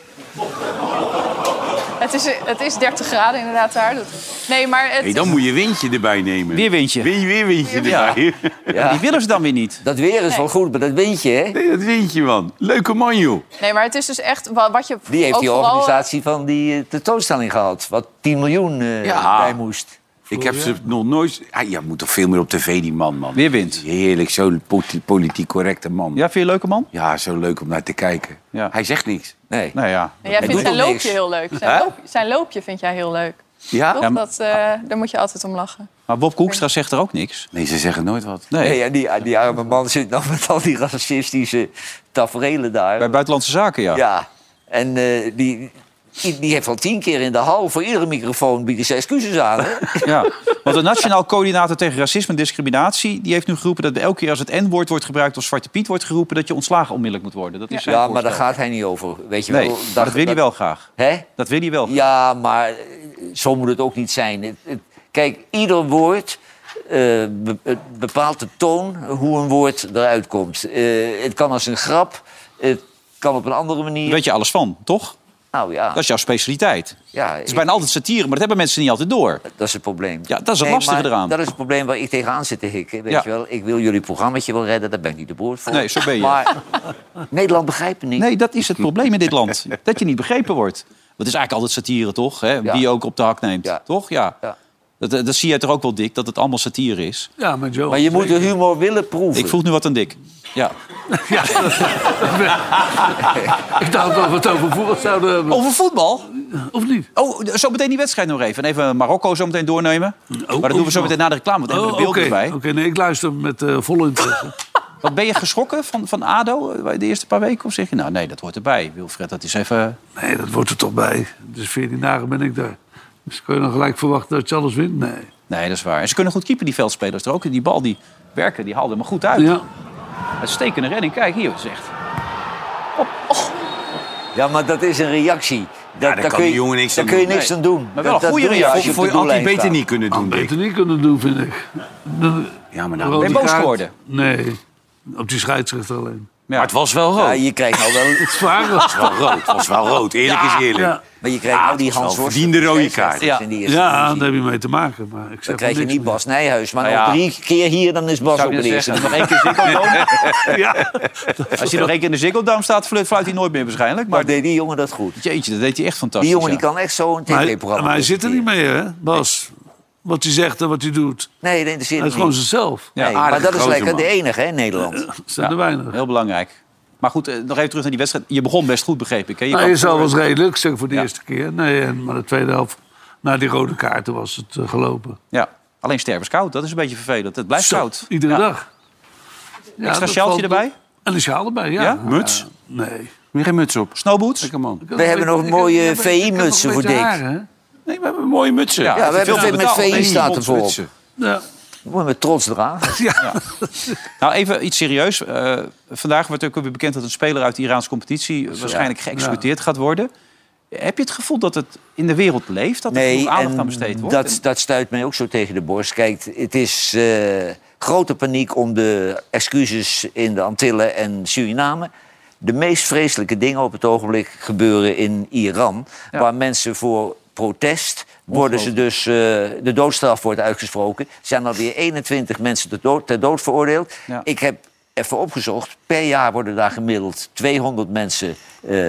S8: Het is, het is 30 graden inderdaad daar. Dat- Nee, maar het
S4: Hey, dan moet je windje erbij nemen.
S1: Weer windje.
S4: Weer, weer windje
S1: Ja.
S4: erbij.
S1: Ja, Die willen ze dan weer niet.
S2: Dat weer is wel goed, maar dat weet je, hè?
S4: Nee, dat windje, man. Leuke man, joh.
S8: is, nee, maar het is dus echt wa- wat je
S2: Die heeft
S8: ook
S2: die
S8: vooral-
S2: organisatie van die eh, tentoonstelling gehad. Wat 10 miljoen eh,
S4: Ja.
S2: bij moest.
S4: Ik heb ze nog nooit... Ah, ja, moet toch veel meer op tv, die man, man.
S1: Weer wind.
S4: Heerlijk, zo'n poti- politiek correcte man.
S1: Ja, vind je een leuke man?
S4: Ja, zo leuk om naar te kijken.
S1: Ja.
S4: Hij zegt niks.
S2: Nee.
S1: Nou ja.
S8: Nee, jij vindt
S2: doet
S8: zijn
S2: toch
S8: loopje
S2: niks?
S8: heel leuk. Zijn,
S4: Hè?
S8: loop- zijn loopje vind jij heel leuk.
S4: Ja?
S8: Toch?
S1: Ja, maar-
S8: dat, eh, daar moet je altijd om lachen.
S1: Maar Bob Koekstra zegt er ook niks.
S4: Nee, ze zeggen nooit wat.
S1: Nee.
S2: Nee, ja, die, die arme man zit nog met al die racistische taferelen daar.
S1: Bij Buitenlandse Zaken, ja.
S2: Ja. En eh, die, die, die heeft al tien keer in de hal voor iedere microfoon bieden ze excuses aan. hè?
S1: Ja, want de Nationaal Coördinator tegen Racisme en Discriminatie... die heeft nu geroepen dat bij elke keer als het N-woord wordt gebruikt... of Zwarte Piet wordt geroepen, dat je ontslagen onmiddellijk moet worden. Dat is zijn
S2: ja, maar daar
S1: voorstel.
S2: gaat hij niet over. Weet je
S1: Nee,
S2: wel.
S1: maar dat wil hij wel graag.
S2: Hè?
S1: Dat wil hij wel. graag.
S2: Ja, maar eh, zo moet het ook niet zijn. Het- het- kijk, ieder woord eh, be- het bepaalt de toon hoe een woord eruit komt. Eh, het kan als een grap, het kan op een andere manier.
S1: Daar weet je alles van, toch?
S2: Nou ja,
S1: Dat is jouw specialiteit.
S2: ja
S1: Het is bijna altijd satire, maar dat hebben mensen niet altijd door.
S2: ik- dat is het probleem.
S1: Ja, dat is het lastige
S2: maar
S1: eraan.
S2: Dat is het probleem waar ik tegenaan zit te hikken. Weet
S1: Ja.
S2: je wel? Ik wil jullie programmaatje wel redden, daar ben ik niet de boord voor.
S1: Nee, zo ben je.
S2: Maar Nederland begrijpt het niet.
S1: Nee, dat is het probleem in dit land. Dat je niet begrepen wordt. Want het is eigenlijk altijd satire, toch? Hè? Wie je ook op de hak neemt,
S2: Ja.
S1: toch? Ja.
S2: Ja.
S1: Dat, dat zie jij toch ook wel, Dick, dat het allemaal satire is?
S3: Ja, met Joe.
S2: Maar je moet de humor willen proeven.
S1: Ik vroeg nu wat aan Dick. Ja.
S3: Ja, ik dacht dat we het over voetbal zouden hebben.
S1: Over voetbal?
S3: Oh, Of niet?
S1: Oh, zo meteen die wedstrijd nog even. En even Marokko zo meteen doornemen. maar dat doen we zo
S3: oh.
S1: meteen na de reclame, want dan hebben
S3: Oh,
S1: we de
S3: Oké,
S1: beelden erbij.
S3: Oké, nee, ik luister met eh, volle interesse.
S1: Wat ben je geschrokken van, van ADO eh, de eerste paar weken? Of zeg je, nou nee, dat hoort erbij. Wilfred, dat is even...
S3: Nee, dat wordt er toch bij. Dus 14 dagen ben ik daar. Dus kun je dan gelijk verwachten dat je alles wint? Nee.
S1: Nee, dat is waar. En ze kunnen goed keeper, die veldspelers er ook. Die bal, die werken, die haalden hem goed uit.
S3: Ja.
S1: Uitstekende redding. Kijk, hier, het is echt...
S2: Ja, maar dat is een reactie. Dat,
S4: daar kan
S2: kun
S4: die
S2: je-
S4: jongen niks
S2: daar
S4: aan
S2: kun je
S4: doen.
S2: niks
S1: Nee.
S2: aan doen.
S1: Maar wel
S2: Dat-
S1: een
S2: dat
S1: goede
S2: doe je als
S1: reactie
S2: je op
S4: Voor
S2: de
S4: je had
S2: doellijn
S4: beter
S2: staat.
S4: niet kunnen
S3: Had
S4: doen, denk ik.
S3: beter niet kunnen doen, vind ik. De-
S4: Ja, maar,
S3: rode
S4: nou,
S1: je boos
S3: kaart?
S1: geworden?
S3: Nee, op die scheidsrechter alleen.
S1: Ja.
S4: maar het was wel
S2: Ja,
S4: rood.
S2: je krijgt nou wel,
S3: Zwaar
S4: Het was wel rood. Het was wel rood. Eerlijk is eerlijk.
S3: Ja.
S2: maar je krijgt
S4: Ah,
S2: nou die
S4: het was
S2: Hans
S4: wel
S2: Worst.
S4: verdiende rode kaart.
S2: Ja, in die eerste
S3: Ja,
S2: divisie.
S3: daar heb je mee te maken. Maar ik zeg
S2: Dan krijg je
S3: niks
S2: niet
S3: meer.
S2: Bas Nijhuis. Maar
S1: Nou
S2: nog
S1: ja.
S2: drie keer hier, dan is Bas op
S1: Zou ik
S2: de
S1: net
S2: eerste.
S1: zeggen, nog één keer Ziggo Dome?
S3: Ja.
S1: Als hij nog één keer in de Ziggo Dome staat, fluit fluit hij nooit meer waarschijnlijk. Maar
S2: Maar deed die jongen dat goed?
S1: jeetje, dat deed hij echt fantastisch.
S2: Die jongen
S1: ja.
S2: die kan echt zo een
S3: Maar hij,
S2: tv-programma
S3: maar hij zit er niet
S2: presenteren.
S3: mee, hè, Bas? Wat hij zegt en wat hij doet.
S2: Nee, dat interesseert
S3: Hij is
S2: hem
S3: gewoon
S2: niet.
S3: zichzelf.
S2: Nee,
S4: aardige
S2: maar dat is
S4: gozer,
S2: lekker
S4: man.
S2: de enige hè, in Nederland.
S3: Dat zijn er weinig.
S1: Heel belangrijk. Maar goed, eh, nog even terug naar die wedstrijd. Je begon best goed, begreep ik. Hè? Je
S3: Nou,
S1: kwam
S3: eerst al
S1: voor-
S3: was redelijk, zeg voor de
S1: Ja.
S3: eerste keer. Nee, en, maar de tweede helft, na die rode kaarten, was het eh, gelopen.
S1: Ja, alleen sterven is koud. Dat is een beetje vervelend. Het blijft
S3: Zo,
S1: koud.
S3: Iedere
S1: Ja.
S3: dag. Ja,
S1: Extra
S3: dat
S1: sjaaltje
S3: valt op.
S1: erbij?
S3: En een sjaal erbij, ja.
S1: Ja?
S4: Muts?
S3: Nee.
S4: Meer geen muts op.
S1: Snowboots?
S4: Lekker man.
S2: We hebben nog mooie VI-mutsen voor Dick.
S4: Nee, we hebben mooie mutsen.
S1: Ja,
S2: Ja, we hebben
S1: veel
S2: het met
S1: betaald.
S2: VI staat ervoor op.
S4: mutsen.
S3: Ja.
S2: Moet je met trots dragen.
S1: Nou, even iets serieus. Eh, vandaag werd ook weer bekend dat een speler uit de Iraanse competitie... waarschijnlijk geëxecuteerd gaat worden. Heb je het gevoel dat het in de wereld leeft? Dat er
S2: Nee,
S1: genoeg aandacht
S2: en
S1: aan besteed wordt?
S2: Dat, dat stuit mij ook zo tegen de borst. Kijk, het is eh, grote paniek om de excuses in de Antillen en Suriname. De meest vreselijke dingen op het ogenblik gebeuren in Iran. Waar mensen voor protest worden ze dus... eh, de doodstraf wordt uitgesproken. Er zijn alweer 21 mensen ter dood, ter dood veroordeeld.
S1: Ja.
S2: Ik heb even opgezocht. Per jaar worden daar gemiddeld 200 mensen eh,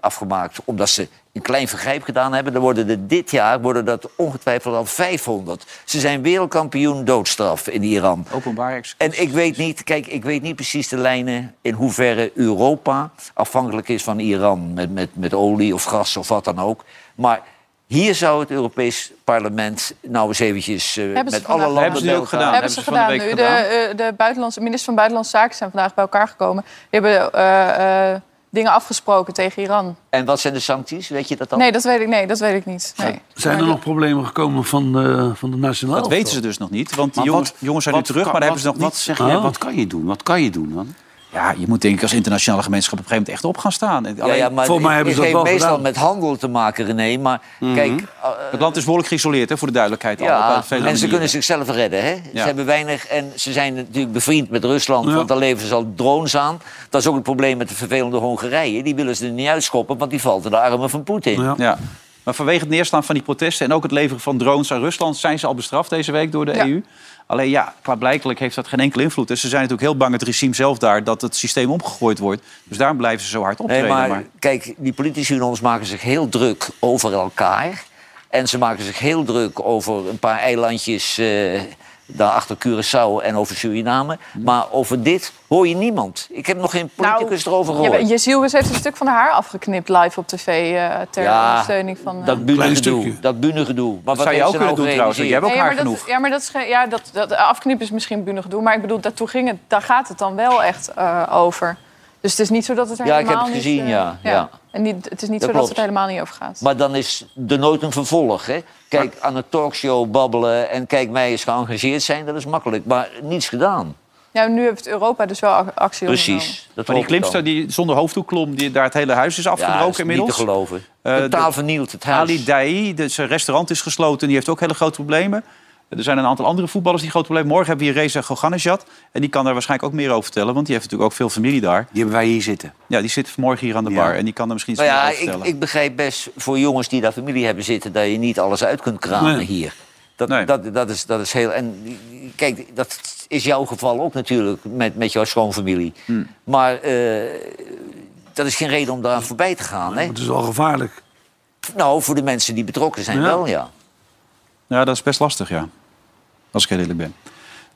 S2: afgemaakt... omdat ze een klein vergrijp gedaan hebben. Dan worden er dit jaar worden dat ongetwijfeld al 500. Ze zijn wereldkampioen doodstraf in Iran.
S1: Openbaar executie.
S2: En ik weet niet, kijk, ik weet niet precies de lijnen in hoeverre Europa afhankelijk is van Iran met, met, met olie of gas of wat dan ook. Maar hier zou het Europees parlement nou eens eventjes eh,
S8: ze
S2: met
S8: vandaag
S2: alle
S8: gedaan.
S2: landen
S1: Hebben ze die
S2: bij
S1: ook
S2: elkaar-
S1: gedaan?
S8: hebben ze
S1: hebben ze van
S8: gedaan.
S1: de
S8: Nu
S1: week
S8: de, eh, de buitenlandse, minister van Buitenlandse Zaken zijn vandaag bij elkaar gekomen. Die hebben eh, eh, dingen afgesproken tegen Iran.
S2: En wat zijn de sancties? Weet je dat al?
S8: Nee, dat weet ik, nee, dat weet ik niet. Nee.
S3: Zijn er nog problemen gekomen van, eh, van de nationale?
S1: Dat weten ze dus nog niet. Want die jongens, jongens zijn nu terug, maar daar hebben ze nog
S4: wat,
S1: niet...
S4: Zeg jij,
S3: Oh.
S4: Wat kan je doen? Wat kan je doen dan?
S1: Ja, je moet denk ik als internationale gemeenschap op een gegeven moment echt op gaan staan. En Alleen,
S2: maar
S3: volgens mij hebben ze
S2: het heeft
S3: dat wel
S2: meestal
S3: gedaan. Mhm.
S2: met handel te maken, René. Maar kijk, eh,
S1: Het land is behoorlijk geïsoleerd, hè, voor de duidelijkheid. al, op
S2: ja,
S1: vele
S2: en ze
S1: manieren.
S2: kunnen zichzelf redden. Hè? Ze
S1: Ja.
S2: hebben weinig en ze zijn natuurlijk bevriend met Rusland,
S3: Ja.
S2: want daar leveren ze al drones aan. Dat is ook het probleem met de vervelende Hongarije. Die willen ze er niet uitschoppen, want die valt in de armen van Poetin.
S3: Ja.
S1: Ja. Maar vanwege het neerslaan van die protesten en ook het leveren van drones aan Rusland zijn ze al bestraft deze week door de
S8: Ja.
S1: EU. Alleen ja, klaarblijkelijk heeft dat geen enkele invloed. Dus ze zijn natuurlijk heel bang, het regime zelf daar, dat het systeem omgegooid wordt. Dus daarom blijven ze zo hard
S2: Nee,
S1: optreden.
S2: maar,
S1: maar...
S2: kijk, die politici in ons maken zich heel druk over elkaar. En ze maken zich heel druk over een paar eilandjes eh, daar achter Curaçao en over Suriname.
S3: Mhm.
S2: Maar over dit hoor je niemand. Ik heb nog geen politicus erover
S8: Je,
S2: gehoord.
S8: Jezielgus heeft een stuk van haar afgeknipt live op tv eh, ter
S2: Ja,
S8: ondersteuning van... eh,
S2: dat bune
S3: stukje.
S2: gedoe, dat bune gedoe. Maar wat
S1: zou je
S2: heeft
S1: ook
S2: ze nou
S1: kunnen doen trouwens, want jij
S2: gerealiseerd?
S1: hebt ook
S8: Nee,
S1: haar
S8: maar dat,
S1: genoeg.
S8: ja, maar dat, is geen- ja, dat, dat afknippen is misschien bunig gedoe. Maar ik bedoel, daartoe ging het, daar gaat het dan wel echt eh, over. Dus het is niet zo dat het er
S2: Ja, ik heb
S8: helemaal
S2: het
S8: niet,
S2: gezien,
S8: eh,
S2: ja, ja.
S8: En niet, het is
S2: Dat
S8: niet zo dat
S2: klopt.
S8: het er helemaal niet over gaat.
S2: Maar dan is er nooit een vervolg. Hè? Kijk, aan een talkshow babbelen en kijk, mij eens geëngageerd zijn, dat is makkelijk. Maar niets gedaan.
S8: ja, nu heeft Europa dus wel ac- actie ondernomen.
S2: Precies. Dat
S1: Maar die
S2: hoop ik dan.
S1: klimster die zonder hoofddoek klom, die, daar het hele huis is
S2: ja,
S1: afgebroken
S2: dat is
S1: inmiddels.
S2: niet te geloven.
S1: Eh,
S2: Totaal
S1: dat-
S2: vernield het huis.
S1: Ali Daei, de- zijn restaurant is gesloten. Die heeft ook hele grote problemen. Er zijn een aantal andere voetballers die grote problemen. Morgen hebben we hier Reza Goganejad. En die kan daar waarschijnlijk ook meer over vertellen. Want die heeft natuurlijk ook veel familie daar.
S4: Die hebben wij hier zitten.
S1: Ja, die zit vanmorgen hier aan de bar. En die kan er misschien iets
S2: Nou
S1: meer
S2: ja,
S1: over
S2: ik,
S1: vertellen.
S2: ik begrijp best voor jongens die daar familie hebben zitten... dat je niet alles uit kunt kramen
S3: Nee.
S2: hier. Dat,
S1: Nee.
S2: dat, dat, is, dat is heel... En kijk, dat is jouw geval ook natuurlijk met, met jouw schoonfamilie.
S1: Hmm.
S2: Maar eh, dat is geen reden om daaraan voorbij te gaan. Hè?
S3: Het is wel gevaarlijk.
S2: Nou, voor de mensen die betrokken zijn
S3: Ja.
S2: wel, ja.
S1: Ja, dat is best lastig, ja. Als ik heel eerlijk ben.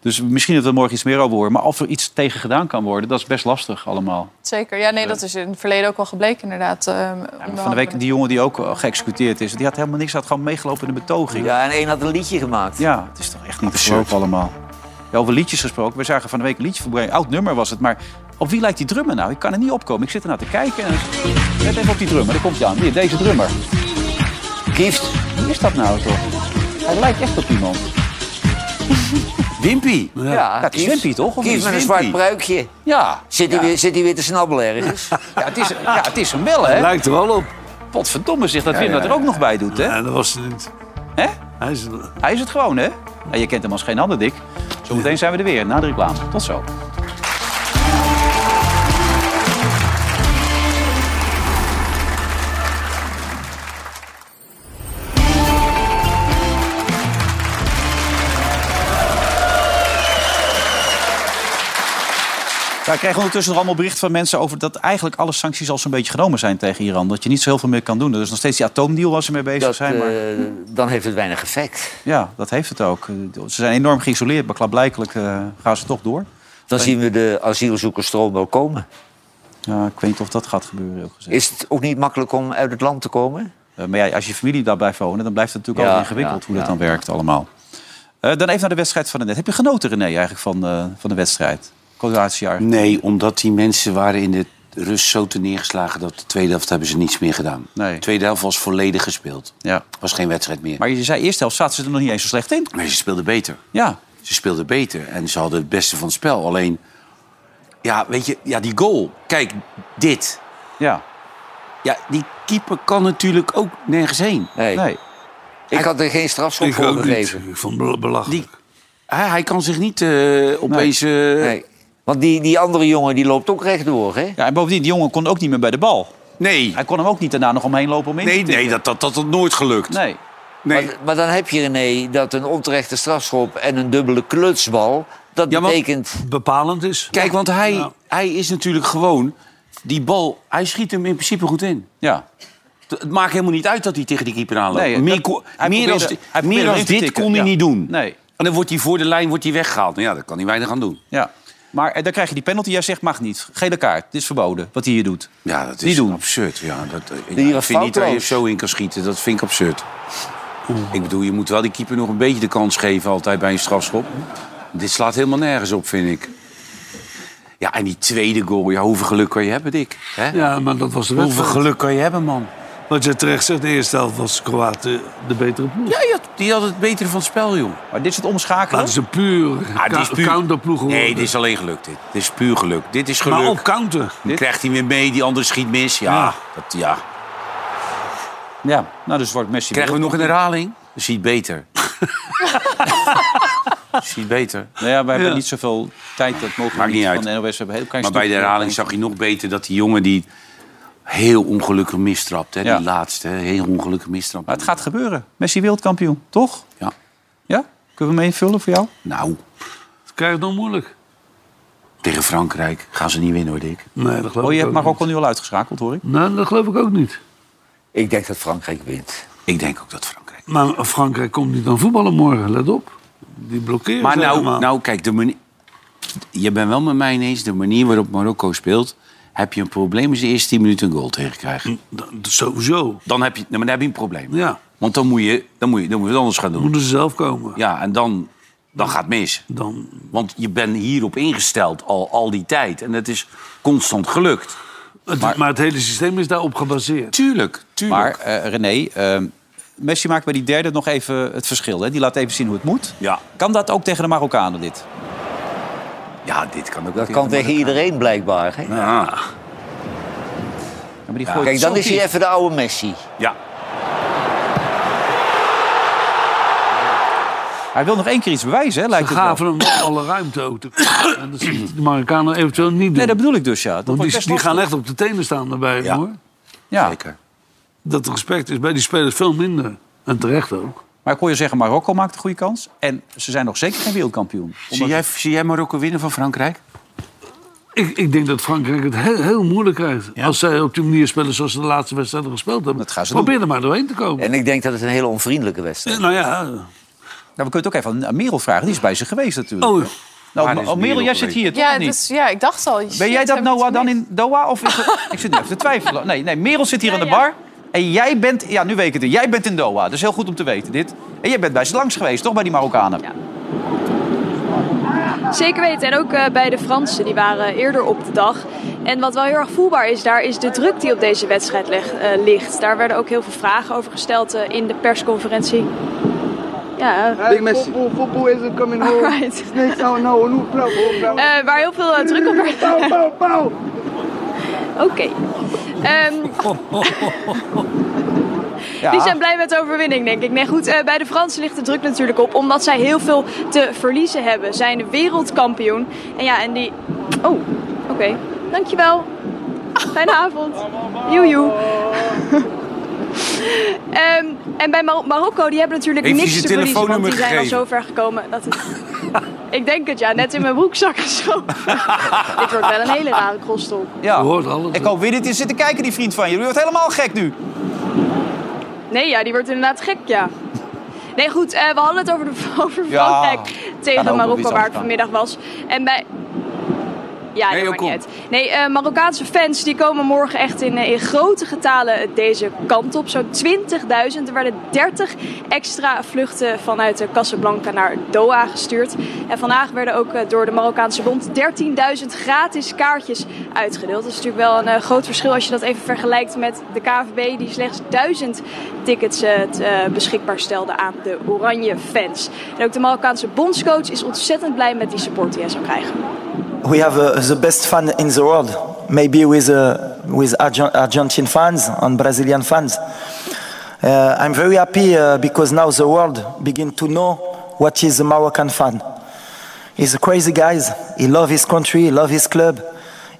S1: Dus misschien dat we er morgen iets meer over horen. Maar of er iets tegen gedaan kan worden, dat is best lastig allemaal.
S8: Zeker. Ja, nee, dat is in het verleden ook wel gebleken, inderdaad. ehm, onder
S1: Van de
S8: andere.
S1: week, die jongen die ook eh, geëxecuteerd is, die had helemaal niks, had gewoon meegelopen in de betoging. Ja,
S2: Ja, en één had een liedje gemaakt.
S1: het is toch echt niet te geloven allemaal. Ja, over liedjes gesproken, we zagen van de week een liedje voorbij, oud nummer was het, maar op wie lijkt die drummer nou? Ik kan er niet opkomen, ik zit ernaar te kijken. En... Let even op die drummer, daar komt hij aan. Hier, deze drummer.
S2: Kieft.
S1: Wie is dat nou toch? Hij lijkt echt op iemand.
S4: Wimpy.
S2: Ja,
S1: dat is
S2: Kieft.
S1: Wimpy, toch? Of
S2: Kieft
S1: is
S2: met een
S1: Wimpy?
S2: zwart pruikje.
S1: Ja,
S2: Zit hij weer, zit hij weer te snabbelen ergens?
S1: ja, het, is, ja het is hem wel, hè?
S4: Lijkt er wel op.
S1: Potverdomme zich dat Wim dat er ook nog bij doet, hè?
S3: Ja, dat was het niet.
S1: Hè?
S3: Hij is...
S1: Hij is het gewoon, hè? Nou, je kent hem als geen ander, Dick. Zometeen zijn we er weer, na de reclame. Tot zo. Ja, ik krijg ondertussen nog allemaal berichten van mensen over dat eigenlijk alle sancties al zo'n beetje genomen zijn tegen Iran. Dat je niet zo heel veel meer kan doen. Er is nog steeds die atoomdeal waar ze mee bezig
S2: Dat,
S1: zijn. Maar...
S2: eh, dan heeft het weinig effect.
S1: Ja, dat heeft het ook. Ze zijn enorm geïsoleerd, maar klaarblijkelijk eh, gaan ze toch door.
S2: Dan zien we de asielzoekersstroom wel komen.
S1: Ja, ik weet niet of dat gaat gebeuren, heel gezegd.
S2: Is het ook niet makkelijk om uit het land te komen?
S1: Eh, maar ja, als je familie daar blijft wonen, dan blijft het natuurlijk
S2: Ja,
S1: altijd ingewikkeld
S2: ja,
S1: hoe dat
S2: ja.
S1: dan werkt allemaal. Eh, dan even naar de wedstrijd van de net. Heb je genoten, René, eigenlijk van, eh, van de wedstrijd? Kroatië.
S4: Nee, omdat die mensen waren in de rust zo te neergeslagen... dat de tweede helft hebben ze niets meer gedaan.
S1: Nee.
S4: De tweede helft was volledig gespeeld.
S1: Ja.
S4: was geen wedstrijd meer.
S1: Maar je zei eerst helft zaten ze er nog niet eens zo slecht in.
S4: Maar ze speelden beter.
S1: Ja,
S4: Ze speelden beter en ze hadden het beste van het spel. Alleen, ja, weet je, ja, die goal. Kijk, dit.
S1: ja.
S4: Ja, die keeper kan natuurlijk ook nergens heen.
S2: Nee.
S1: Nee.
S2: Ik had er geen strafschop
S3: Ik
S2: voor
S3: ook niet.
S2: gegeven.
S3: Ik vond het belachelijk.
S4: Die, hij, hij kan zich niet eh, opeens... eh, nee.
S2: Nee. Want die, die andere jongen die loopt ook rechtdoor, hè?
S1: ja, en bovendien, die jongen kon ook niet meer bij de bal.
S4: Nee,
S1: Hij kon hem ook niet daarna nog omheen lopen om in te
S4: nee,
S1: tikken.
S4: dat, dat, dat had nooit gelukt.
S1: Nee,
S4: Nee.
S2: Maar, maar dan heb je, René, dat een onterechte strafschop en een dubbele klutsbal... dat
S4: Ja, maar-
S2: betekent...
S3: Bepalend is.
S4: Kijk, want hij,
S3: Ja.
S4: hij is natuurlijk gewoon... Die bal, hij schiet hem in principe goed in.
S1: ja.
S4: Het- Het maakt helemaal niet uit dat hij tegen die keeper aanloopt.
S1: Nee,
S4: meer
S1: dat-
S4: ko-
S1: hij
S4: meer
S1: probeerde-
S4: als, di-
S1: hij probeerde
S4: meer als
S1: erin te
S4: dit
S1: tikken,
S4: kon hij
S1: ja.
S4: niet doen.
S1: Nee.
S4: En dan wordt hij voor de lijn wordt hij weggehaald. Nou ja, daar kan hij weinig aan doen.
S1: Ja. Maar eh, dan krijg je die penalty. Jij zegt mag niet. Gele kaart. Dit is verboden. Wat hij hier doet.
S4: Ja, dat
S1: Die
S4: is
S1: doen.
S4: absurd. Ja, dat, eh,
S2: Die
S4: ja,
S2: was
S4: ik vind niet dat je
S2: foutloos.
S4: zo in kan schieten. Dat vind ik absurd. Ik bedoel, je moet wel die keeper nog een beetje de kans geven altijd bij een strafschop. Dit slaat helemaal nergens op, vind ik. Ja, en die tweede goal. Ja, hoeveel geluk kan je hebben, Dick? Hè?
S3: Ja, maar dat was de
S4: hoeveel
S3: wedstrijd.
S4: geluk kan je hebben, man?
S3: Wat je terecht zegt, de eerste helft was Kroatië de betere ploeg.
S4: Ja, die had, die had het betere van het spel, joh.
S1: Maar dit is het
S3: Maar
S1: omschakelen.
S3: het is een puur,
S4: Ah, dit is puur-
S3: counterploeg geworden.
S4: Nee, dit is alleen geluk. Dit, dit is puur geluk. Dit is geluk.
S3: Maar op Ah. counter.
S4: Dan krijgt hij weer mee, die andere schiet mis. Ja,
S3: Ja.
S4: Dat, ja.
S1: Ja. Nou, dus wordt Messi.
S4: Krijgen we nog een herhaling? Dat ziet beter. Dat ziet beter.
S1: Nou ja, we hebben
S3: Ja.
S1: niet zoveel tijd. Dat mogen we
S4: Maakt
S1: niet,
S4: niet
S1: van
S4: uit.
S1: de NOS. We hebben een heel klein
S4: Maar bij de
S1: stukje.
S4: herhaling zag je nog beter dat die jongen die heel ongelukkig mistrapt. Hè?
S1: Ja.
S4: Die laatste, hè? heel ongelukkig mistrapt.
S1: Maar het gaat gebeuren. Messi wereldkampioen. Toch?
S4: Ja.
S1: Ja? Kunnen we hem invullen voor jou? Oh,
S4: Nou,
S3: Dat krijg je dan moeilijk.
S4: tegen Frankrijk gaan ze niet winnen hoor, Dick.
S3: Nee, dat geloof
S1: Oh, je
S3: ik
S1: hebt
S3: ook
S1: Marokko nu al uitgeschakeld, hoor ik.
S3: niet. Nee, dat geloof ik ook niet.
S2: Ik denk dat Frankrijk wint.
S4: Ik denk ook dat Frankrijk.
S3: Maar Frankrijk komt niet aan voetballen morgen, let op. Die blokkeren
S4: Maar
S3: ze
S4: nou,
S3: helemaal.
S4: nou kijk, de manier, je bent wel met mij ineens. De manier waarop Marokko speelt, heb je een probleem als je de eerste 10 minuten een goal tegenkrijgt.
S3: Dat- dat sowieso.
S4: Dan heb je, nou, maar dan heb je een probleem.
S3: Ja,
S4: Want dan moet je, dan moet je, dan moet je het anders gaan doen.
S3: moeten ze zelf komen.
S4: Ja, en dan, dan gaat het mis.
S3: Dan,
S4: Want je bent hierop ingesteld al, al die tijd. En het is constant gelukt.
S3: het, maar, het hele systeem is daarop gebaseerd.
S4: Tuurlijk, tuurlijk.
S1: Maar eh, René, eh, Messi maakt bij die derde nog even het verschil. Hè? Die laat even zien hoe het moet.
S4: Ja.
S1: Kan dat ook tegen de Marokkanen, dit?
S4: ja, dit kan ook.
S2: Dat kan tegen iedereen blijkbaar, hè?
S4: Ja.
S1: Ja, maar die gooit
S2: Kijk,
S1: zo
S2: dan is
S1: diep.
S2: hij even de oude Messi.
S4: ja.
S1: Hij wil nog één keer iets bewijzen, hè?
S3: Ze
S1: Lijkt het wel.
S3: gaven hem alle ruimte ook. te- En dat zullen de Marokkanen eventueel niet doen.
S1: Nee, dat bedoel ik dus, ja. Dat
S3: Want
S1: wordt
S3: die,
S1: best
S3: die gaan
S1: lastig.
S3: echt op de tenen staan daarbij,
S4: Ja.
S3: hoor.
S1: Ja.
S4: Zeker.
S3: Dat respect is bij die spelers veel minder. En terecht ook.
S1: Maar ik hoor je zeggen, Marokko maakt een goede kans. En ze zijn nog zeker geen wereldkampioen.
S4: Zie, jij, zie jij Marokko winnen van Frankrijk?
S3: Ik, ik denk dat Frankrijk het heel, heel moeilijk krijgt. Als zij op die manier spelen zoals ze de laatste wedstrijden gespeeld hebben.
S1: Dat gaan ze
S3: Probeer er maar doorheen te komen.
S2: En ik denk dat het een hele onvriendelijke wedstrijd
S3: Eh, Nou ja,
S1: we kunnen het ook even aan- aan Merel vragen. Die is bij ze geweest natuurlijk.
S3: Oh,
S1: nou,
S4: Waar
S1: maar-
S4: is
S1: oh, Merel,
S4: Merel
S1: jij zit
S4: geweest?
S1: hier, toch
S8: Ja,
S1: of niet?
S8: dus, ja, ik dacht al.
S1: Ben jij dat Noah dan in Doha? Of is het- ik zit nu even te twijfelen. Nee, nee, Merel zit hier
S5: Ja,
S1: aan de
S5: ja.
S1: bar. En jij bent, ja, nu weet ik het. Jij bent in Doha. Dat is heel goed om te weten, dit. En jij bent bij ze langs geweest, toch? Bij die Marokkanen.
S5: Ja. Zeker weten. En ook eh, bij de Fransen, die waren eerder op de dag. En wat wel heel erg voelbaar is daar, is de druk die op deze wedstrijd leg- eh, ligt. Daar werden ook heel veel vragen over gesteld eh, in de persconferentie. Ja,
S6: Big Messi. nou
S5: alright. Eh, waar heel veel eh, druk op werd. Oké. Ehm,
S1: Ja.
S5: Die zijn blij met de overwinning, denk ik. Nee, goed, eh, bij de Fransen ligt de druk natuurlijk op, omdat zij heel veel te verliezen hebben. Zijn wereldkampioen. En ja, en die... Oh, oké. Dankjewel. Fijne avond. Joejoe. Ehm, en bij Mar- Marokko, die hebben natuurlijk
S4: Heeft hij
S5: niks
S4: zijn
S5: te verliezen, want
S4: telefoonnummer
S5: die zijn al
S4: gegeven?
S5: zo ver gekomen dat het... ik denk het, ja. Net in mijn broekzak geschoven. Dit wordt wel een hele rare crosstalk.
S1: Ja.
S3: Je hoort alles,
S1: Ik
S3: hè?
S1: hoop weer dit is zitten kijken, die vriend van je. Die wordt helemaal gek nu.
S5: Nee, ja, die wordt inderdaad gek, ja. Nee, goed, eh, we hadden het over, de, over Frankrijk
S1: ook
S5: tegen
S1: nog iets
S5: Marokko,
S1: anders
S5: waar het
S1: gaan.
S5: vanmiddag was. En bij... Ja,
S4: Nee,
S5: dat
S4: joh,
S5: maakt
S4: kom.
S5: niet uit. Nee, eh, Marokkaanse fans die komen morgen echt in, eh, in grote getalen deze kant op. Zo'n 20.000. Er werden 30 extra vluchten vanuit eh, Casablanca naar Doha gestuurd. En vandaag werden ook eh, door de Marokkaanse bond 13.000 gratis kaartjes uitgedeeld. Dat is natuurlijk wel een eh, groot verschil als je dat even vergelijkt met de KVB... die slechts 1000 tickets eh, t- eh, beschikbaar stelde aan de Oranje fans. En ook de Marokkaanse bondscoach is ontzettend blij met die support die hij zou krijgen.
S6: We have uh, the best fan in the world, maybe with, uh, with Argen- Argentine fans and Brazilian fans. Uh, I'm very happy uh, because now the world begin to know what is a Moroccan fan. He's a crazy guy. He loves his country, he loves his club.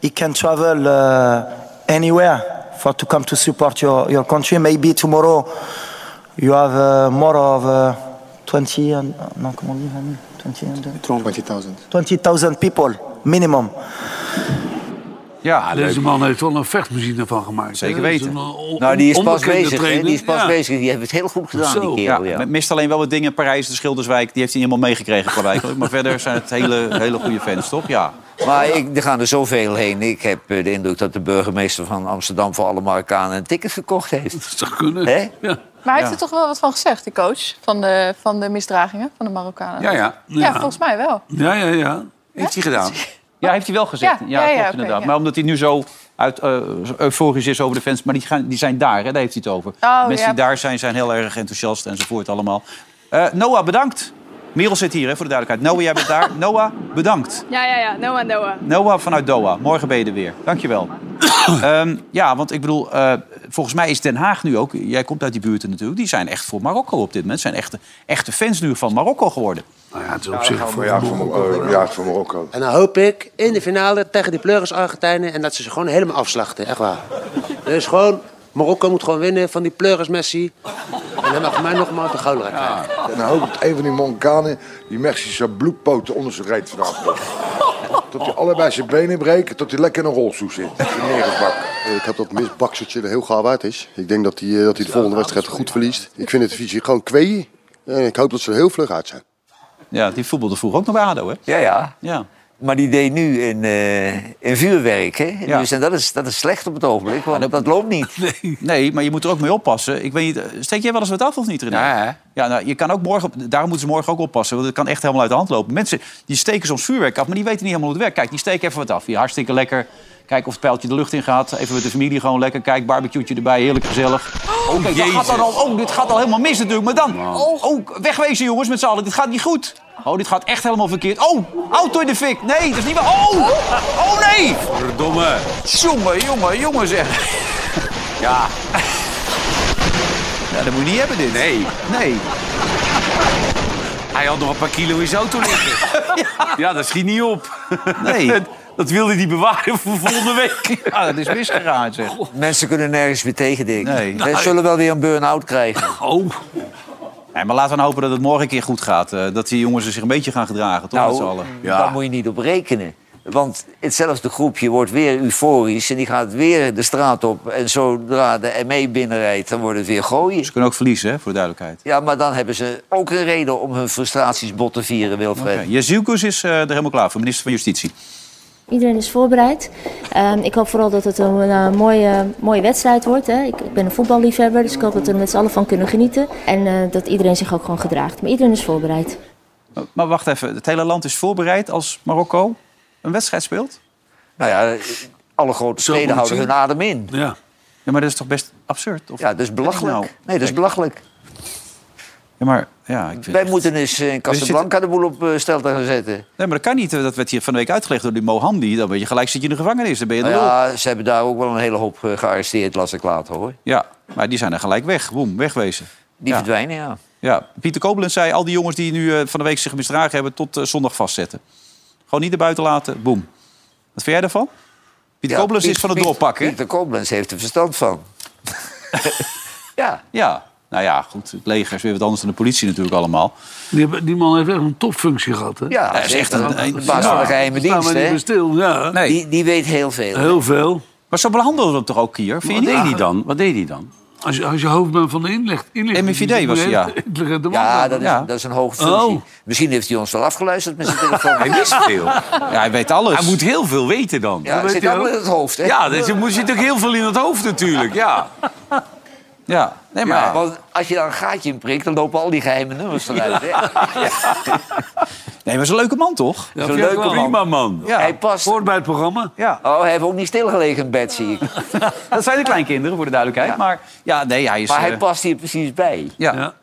S6: He can travel uh, anywhere for to come to support your, your country. Maybe tomorrow you have uh, more of uh, 20 and no, comment on dit, Rami? 20 and, uh, 20,000 people minimum.
S1: Ja,
S3: Deze man heeft wel een vechtmachine van gemaakt.
S1: Zeker
S3: hè? Dat is
S1: weten.
S3: een, eh, on-
S2: Nou, die is pas
S3: onbekende
S2: bezig. hè?
S3: trainer.
S2: Die is pas
S3: Ja.
S2: bezig. Die hebben het heel goed gedaan,
S3: Zo.
S2: die
S1: Ja,
S2: kerel. Ja.
S1: met- mist alleen wel wat dingen. Parijs, de Schilderswijk, die heeft hij niet helemaal meegekregen. qua wijk. Maar verder zijn het hele, hele goede fans, toch? Ja.
S2: Maar ik, er gaan er zoveel heen. Ik heb eh, de indruk dat de burgemeester van Amsterdam... voor alle Marokkanen een ticket gekocht heeft.
S3: Dat zou kunnen.
S2: Hè?
S3: Ja.
S8: Maar hij heeft er toch wel wat van gezegd, die coach? Van de, van de misdragingen van de Marokkanen?
S4: Ja, ja.
S8: Ja, volgens mij wel.
S2: Oh,
S3: Ja, ja, ja.
S4: Heeft hij gedaan.
S1: Ja, heeft hij wel gezegd. Ja,
S8: Ja, ja, ja,
S1: klopt
S8: oké,
S1: inderdaad.
S8: ja.
S1: Maar omdat hij nu zo uit, eh, zo euforisch is over de fans. Maar die, gaan, die zijn daar, hè? daar heeft hij het over.
S8: Oh, ja.
S1: Mensen die daar zijn, zijn heel erg enthousiast enzovoort allemaal. Eh, Noah, bedankt. Merel zit hier, hè, voor de duidelijkheid. Noah, jij bent daar. Noah, bedankt.
S5: Ja, ja, ja. Noah, Noah.
S1: Noah vanuit Doha. Morgen ben je er weer. Dankjewel. Ehm ja, want ik bedoel, eh, volgens mij is Den Haag nu ook... Jij komt uit die buurten natuurlijk. Die zijn echt voor Marokko op dit moment. Zijn echte, echte fans nu van Marokko geworden.
S3: Nou ja, het is op zich voor
S6: En dan hoop ik in de finale tegen die pleuris Argentijnen en dat ze ze gewoon helemaal afslachten, echt waar. Dus gewoon, Marokko moet gewoon winnen van die pleuris Messi. En dan mag mij nog maar de gouden krijgen.
S11: En dan hoop ik een van die Monkanen die Mexische bloedpoten onder zijn reet vanaf Tot hij allebei zijn benen breekt, tot hij lekker in een rolstoel zit.
S6: Ik heb dat misbakseltje er heel gauw uit is. Ik denk dat hij eh, dat hij de volgende wedstrijd goed verliest. Ik vind het visie gewoon kweeën. En ik hoop dat ze er heel vlug uit zijn.
S1: Ja, die voetbalde vroeger ook nog bij ADO, hè?
S2: Ja, ja.
S1: Ja.
S2: Maar die deed nu in, eh, in vuurwerk. Hè?
S1: Ja.
S2: Dus, en dat is, dat is slecht op het ogenblik, want dat loopt niet.
S1: Nee, maar je moet er ook mee oppassen. Ik weet niet, eh, steek jij wel eens wat af of niet, René?
S4: Ja, hè?
S1: Ja, nou, je kan ook morgen, op- daarom moeten ze morgen ook oppassen. Want het kan echt helemaal uit de hand lopen. Mensen die steken soms vuurwerk af, maar die weten niet helemaal hoe het werkt. Kijk, die steken even wat af. Hier, hartstikke lekker. Kijk of het pijltje de lucht in gaat. Even met de familie gewoon lekker. Kijk, barbecue'tje erbij, heerlijk gezellig. Oh, kijk, dat gaat dan al, oh, dit gaat al helemaal mis natuurlijk. Maar dan, oh, oh, wegwezen jongens met z'n allen. Dit gaat niet goed. Oh, dit gaat echt helemaal verkeerd. Oh, auto in de fik. Nee, dat is niet waar. Oh, oh nee.
S4: Verdomme.
S1: Jongen, jongen, jongen zeg.
S4: Ja.
S1: Ja, dat moet je niet hebben dit.
S4: Nee.
S1: Nee.
S4: Hij had nog een paar kilo in zijn auto liggen. ja. dat schiet niet op.
S1: Nee.
S4: Dat wilde hij bewaren voor volgende week.
S1: Ja, Ah, dat is misgegaan, zeg.
S2: Mensen kunnen nergens meer tegen, denk ik.
S1: Nee.
S2: Wij zullen wel weer een burn-out krijgen.
S3: Oh,
S1: Nee, maar laten we nou hopen dat het morgen een keer goed gaat. eh, dat die jongens er zich een beetje gaan gedragen, toch? met z'n
S2: Nou,
S1: allen.
S2: daar moet je niet op rekenen. Want hetzelfde groepje wordt weer euforisch en die gaat weer de straat op. En zodra de ME binnenrijdt, dan wordt het weer gooien.
S1: Ze kunnen ook verliezen, hè, voor de duidelijkheid.
S2: Ja, maar dan hebben ze ook een reden om hun frustraties bot te vieren, Wilfred.
S1: Oké, Jezielkus is eh, er helemaal klaar voor, minister van Justitie.
S12: Iedereen is voorbereid. Ehm, ik hoop vooral dat het een eh, mooie, mooie wedstrijd wordt. Hè. Ik, ik ben een voetballiefhebber, dus ik hoop dat we er met z'n allen van kunnen genieten. En eh, dat iedereen zich ook gewoon gedraagt. Maar iedereen is voorbereid.
S1: Maar- Maar wacht even, het hele land is voorbereid als Marokko een wedstrijd speelt?
S2: Nou ja, alle grote
S1: moet
S2: steden
S1: het
S2: houden
S1: zien.
S2: hun adem in.
S1: Ja. ja, maar dat is toch best absurd? Of...
S2: Ja, dat is belachelijk.
S1: Nou,
S2: nee, dat is belachelijk.
S1: Ja, maar ja, ik vind...
S2: Wij moeten eens eh, in Casablanca de boel op eh, stelte gaan zetten.
S1: Nee, maar dat kan niet. Dat werd hier van de week uitgelegd door die Mohandi. Dan ben je gelijk zit je in de gevangenis. Dan ben je de
S2: Nou
S1: lul.
S2: ja, ze hebben daar ook wel een hele hoop eh, gearresteerd, las ik later hoor.
S1: Ja, maar die zijn er gelijk weg. Woem, wegwezen.
S2: Die
S1: Ja.
S2: verdwijnen, ja.
S1: Ja, Pieter Koblenz zei... al die jongens die nu eh, van de week zich misdragen hebben... tot eh, zondag vastzetten. Gewoon niet erbuiten laten. Boem. Wat vind jij daarvan? Pieter
S2: Ja,
S1: Koblenz
S2: Piet-
S1: is van het
S2: Piet-
S1: doorpakken. hè?
S2: Pieter Koblenz heeft er verstand van. ja,
S1: Ja, nou ja, goed. Het leger is weer wat anders dan de politie natuurlijk allemaal.
S3: Die, hebben- die man heeft echt een topfunctie gehad. Hè?
S2: ja
S1: Hij is echt een- een-
S2: de baas van de geheime
S3: Sta Nou, maar
S2: dienst,
S3: niet
S2: hè.
S3: meer stil. Ja.
S1: Nee.
S2: Die, die weet heel veel.
S3: Heel veel.
S1: Maar zo behandelen we hem toch ook hier? Vind je
S4: Wat
S1: niet?
S4: deed hij dan? Wat deed hij dan?
S3: Als je, als je hoofdman van de inleg, inlichting...
S1: MIVD was hij, ja.
S3: Intelligente man.
S2: Ja, dat is,
S1: Ja.
S2: dat is een hoge functie.
S3: Oh.
S2: Misschien heeft hij ons wel afgeluisterd met zijn telefoon.
S4: Hij wist veel.
S1: Ja, hij weet alles.
S4: Hij moet heel veel weten dan.
S2: Ja, dat zit
S3: hij
S2: allemaal
S3: ook.
S2: in het hoofd, hè.
S4: Ja, dus je moet zit ook heel veel in het hoofd natuurlijk. Ja.
S1: Ja, nee, maar...
S2: Ja, want als je daar een gaatje in prikt, dan lopen al die geheime nummers eruit. hè.
S1: Nee, maar is een leuke man, toch?
S3: Ja,
S2: Zo'n
S3: vind ik
S2: leuke
S3: wel.
S4: Prima man.
S1: Ja.
S2: Hij past.
S3: Hoort bij het programma.
S1: ja.
S2: Oh, hij heeft ook niet stilgelegen in bed, zie ik.
S1: Dat zijn de kleinkinderen, voor de duidelijkheid. Maar ja, nee, hij is...
S2: Maar
S1: eh,
S2: hij past hier precies bij.
S1: ja.
S3: Ja.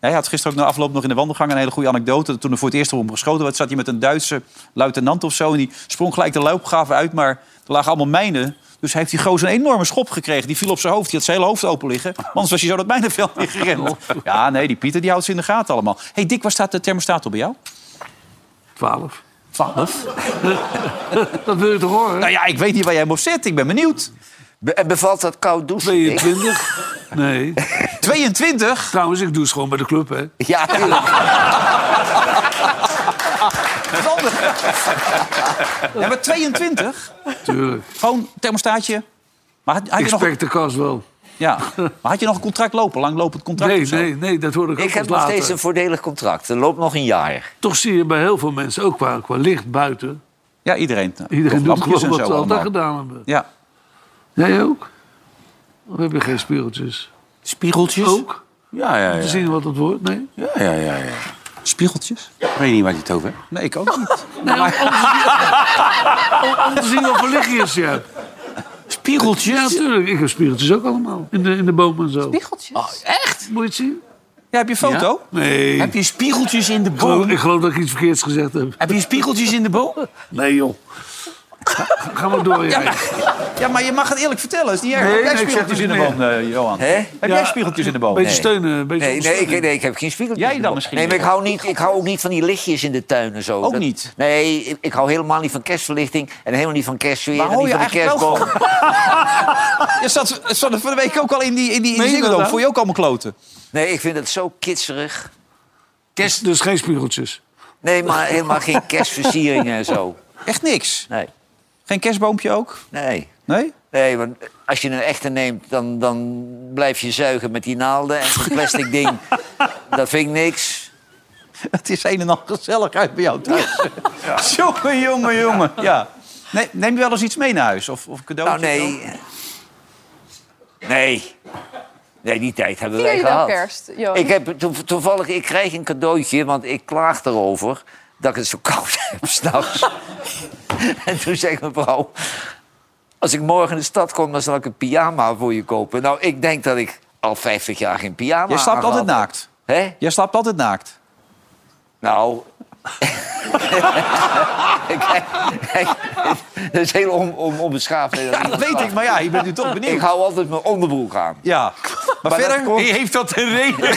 S1: Hij had gisteren ook na afloop nog in de wandelgang een hele goede anekdote. Toen er voor het eerst op hem geschoten werd, zat hij met een Duitse luitenant of zo. En die sprong gelijk de loopgraven uit, maar er lagen allemaal mijnen. Dus hij heeft die gozer een enorme schop gekregen. Die viel op zijn hoofd. Die had zijn hele hoofd open liggen. Want Anders was hij zo dat mijnenveld in
S3: Oh.
S1: gerend. Ja, nee, die Pieter die houdt ze in de gaten allemaal. Hé, hey, Dick, waar staat de thermostaat op bij jou?
S3: 12.
S1: 12.
S3: Dat wil je toch horen?
S1: Nou ja, ik weet niet waar jij hem op zet. Ik ben benieuwd.
S2: Be- en bevalt dat koud douchen? Dick?
S3: 22? Nee.
S1: 22?
S3: Trouwens, ik doe het gewoon bij de club, hè.
S2: Ja, tuurlijk.
S1: Ja, maar 22?
S3: Tuurlijk.
S1: Gewoon thermostaatje. Maar had, had
S3: Ik
S1: je nog,
S3: spek de kast wel.
S1: ja. maar had je nog een contract lopen? Lang lopend contract
S3: Nee,
S1: of zo?
S3: nee, nee, dat hoor ik, ook
S2: Ik heb
S3: pas
S2: nog
S3: later.
S2: steeds een voordelig contract. Er loopt nog een jaar.
S3: Toch zie je bij heel veel mensen, ook qua, qua licht buiten...
S1: Ja, iedereen. eh,
S3: Iedereen
S1: Toch
S3: doet gewoon
S1: lampjes en
S3: wat ze
S1: zo
S3: altijd
S1: allemaal.
S3: gedaan hebben.
S1: Ja.
S3: Jij ook? We hebben geen spiegeltjes.
S4: Spiegeltjes?
S3: Ook?
S4: Ja, ja,
S3: Te
S4: ja.
S3: zien wat het wordt? Nee?
S4: ja, ja, ja, ja.
S1: Spiegeltjes?
S4: Ik weet niet waar je het over hebt.
S1: Nee, ik ook niet.
S3: Nee, om, om, te zien, om, om te zien wat voor lichtjes je hebt.
S4: Spiegeltjes?
S3: Ja, natuurlijk. Ik heb spiegeltjes ook allemaal. In de, in de bomen en zo.
S8: Spiegeltjes.
S2: oh,
S3: Echt? Moet je het zien?
S1: Ja, heb je een foto?
S3: Nee.
S4: Heb je spiegeltjes in de
S3: Ik geloof,
S4: boom?
S3: ik geloof dat ik iets verkeerds gezegd heb.
S4: Heb je spiegeltjes in de boom?
S3: Nee, joh. Ga maar door, jij.
S1: Ja. maar je mag het eerlijk vertellen. Is niet erg.
S3: Nee,
S1: heb jij
S3: nee, ik
S1: spiegeltjes
S3: zeg
S1: in de
S3: het
S1: boom, eh, Johan?
S2: Hè?
S1: Heb jij spiegeltjes in de boom?
S3: Beetje
S1: Nee.
S3: steunen, een
S2: Nee,
S3: beetje
S2: nee,
S3: ondersteunen.
S2: ik, nee, ik heb geen spiegeltjes.
S1: Jij dan misschien
S2: Nee, maar ik
S1: wel.
S2: hou, niet, ik hou ook niet van die lichtjes in de tuin en zo.
S1: Ook niet?
S2: Nee, ik, ik hou helemaal niet van kerstverlichting. En helemaal niet van kerstsfeer.
S1: Maar
S2: en
S1: hou
S2: niet
S1: je
S2: van de
S1: eigenlijk wel
S2: kerstboom.
S1: Je zat, zat er van de week ook al in die, in die, in die
S3: Meen je dat nou?
S1: zingedoom.
S3: dan?
S1: Vond je ook allemaal kloten?
S2: Nee, ik vind het zo kitserig.
S3: Kerst, dus geen spiegeltjes.
S2: Nee, maar helemaal geen kerstversieringen en zo.
S1: Echt niks?
S2: Nee,
S1: Geen kerstboompje ook?
S2: nee.
S1: Nee?
S2: Nee, want als je een echte neemt, dan, dan blijf je zuigen met die naalden en zo'n plastic ding. Dat vind ik niks.
S1: Het is een en al gezelligheid bij jou thuis. Jongen, jongen, jongen. Ja. Nee, neem je wel eens iets mee naar huis? Of, of cadeautje?
S2: Nou, nee. Nee. Nee, die tijd hebben
S8: Vier
S2: wij
S8: je dan
S2: gehad.
S8: kerst, Johan?
S2: Ik heb to- toevallig, ik krijg een cadeautje, want ik klaag erover dat ik het zo koud heb s'nachts. en toen zei mijn vrouw, als ik morgen in de stad kom, dan zal ik een pyjama voor je kopen. Nou, ik denk dat ik al 50 jaar geen pyjama
S1: Jij slaapt altijd
S2: aangehad
S1: naakt.
S2: heb. Hè?
S1: Jij slaapt altijd naakt.
S2: Nou. Kijk, kijk, dat is heel on, on, onbeschaafd. hè,
S1: Ja, dat
S2: iemand
S1: weet ik,
S2: vraagt.
S1: maar ja, je bent nu toch
S2: Ik
S1: benieuwd.
S2: hou altijd mijn onderbroek aan.
S1: Ja. Maar,
S2: dat
S1: verder?
S2: komt-
S4: Wie heeft dat een reden?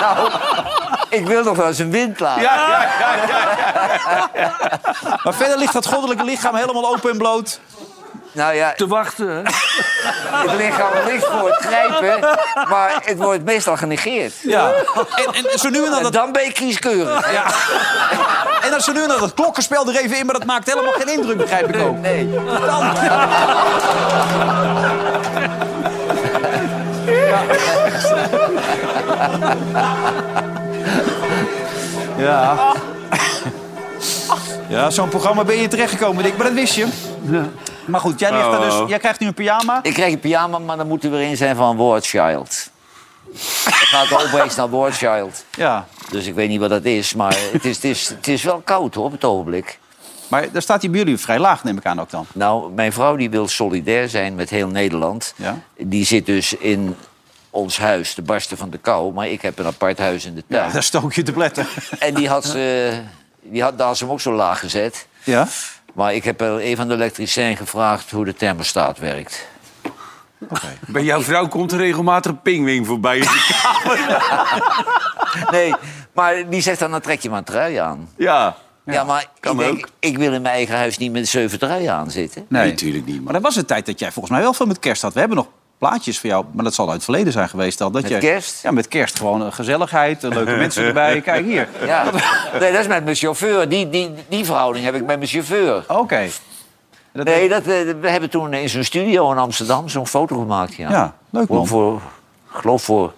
S2: Nou, Ik wil nog wel eens een windlaag.
S4: Ja, ja, ja, ja.
S1: maar verder ligt dat goddelijke lichaam helemaal open en bloot.
S2: nou ja,
S3: te wachten.
S2: het lichaam ligt voor het grijpen, maar het wordt meestal genegeerd.
S1: Ja. En, en zo nu en dan...
S2: dat... Dan ben je kieskeurig. hè?
S1: En dan zo nu en dan dat klokkenspel er even in, maar dat maakt helemaal geen indruk, begrijp ik ook.
S2: Nee.
S1: Ja. Ja, zo'n programma ben je terechtgekomen, Dick, maar dat wist je. Maar goed, jij, ligt daar dus, jij krijgt nu een pyjama.
S2: Ik krijg een pyjama, maar dan moet er weer in zijn van Wordchild. Dat gaat de opbrengst naar Wordchild.
S1: Ja.
S2: Dus ik weet niet wat dat is, maar het is, het is, het is wel koud hoor, op het ogenblik.
S1: Maar daar staat die bij jullie vrij laag, neem ik aan ook dan.
S2: Nou, mijn vrouw die wil solidair zijn met heel Nederland.
S1: Ja.
S2: Die zit dus in ons huis, de barsten van de kou. Maar ik heb een apart huis in de tuin.
S1: Daar stook je te pletten.
S2: En die had ze, die had, daar had ze hem ook zo laag gezet.
S1: Ja.
S2: Maar ik heb wel even aan de elektricien gevraagd hoe de thermostaat werkt.
S4: Bij jouw vrouw komt er regelmatig een pingwing voorbij.
S2: Nee, maar die zegt dan, dan trek je maar een trui aan.
S4: ja.
S2: Ja, maar ik,
S4: kan
S2: denk,
S4: ook.
S2: ik wil in mijn eigen huis niet met zeven truien aan zitten.
S1: Nee.
S4: Nee, natuurlijk niet.
S1: Maar
S4: Maar
S1: dat was een tijd dat jij volgens mij wel veel met kerst had. We hebben nog plaatjes van jou, maar dat zal uit het verleden zijn geweest dan. Dat
S2: Met
S1: jij-
S2: kerst?
S1: Ja, met kerst. Gewoon een gezelligheid, een leuke mensen erbij. Kijk hier.
S2: Ja. Nee, dat is met mijn chauffeur. Die, die, die verhouding heb ik met mijn chauffeur.
S1: Oké. Dat-
S2: Nee, dat, eh, we hebben toen in zo'n studio in Amsterdam zo'n foto gemaakt. Ja,
S1: Ja, leuk, man.
S2: Gewoon Voor, ik geloof voor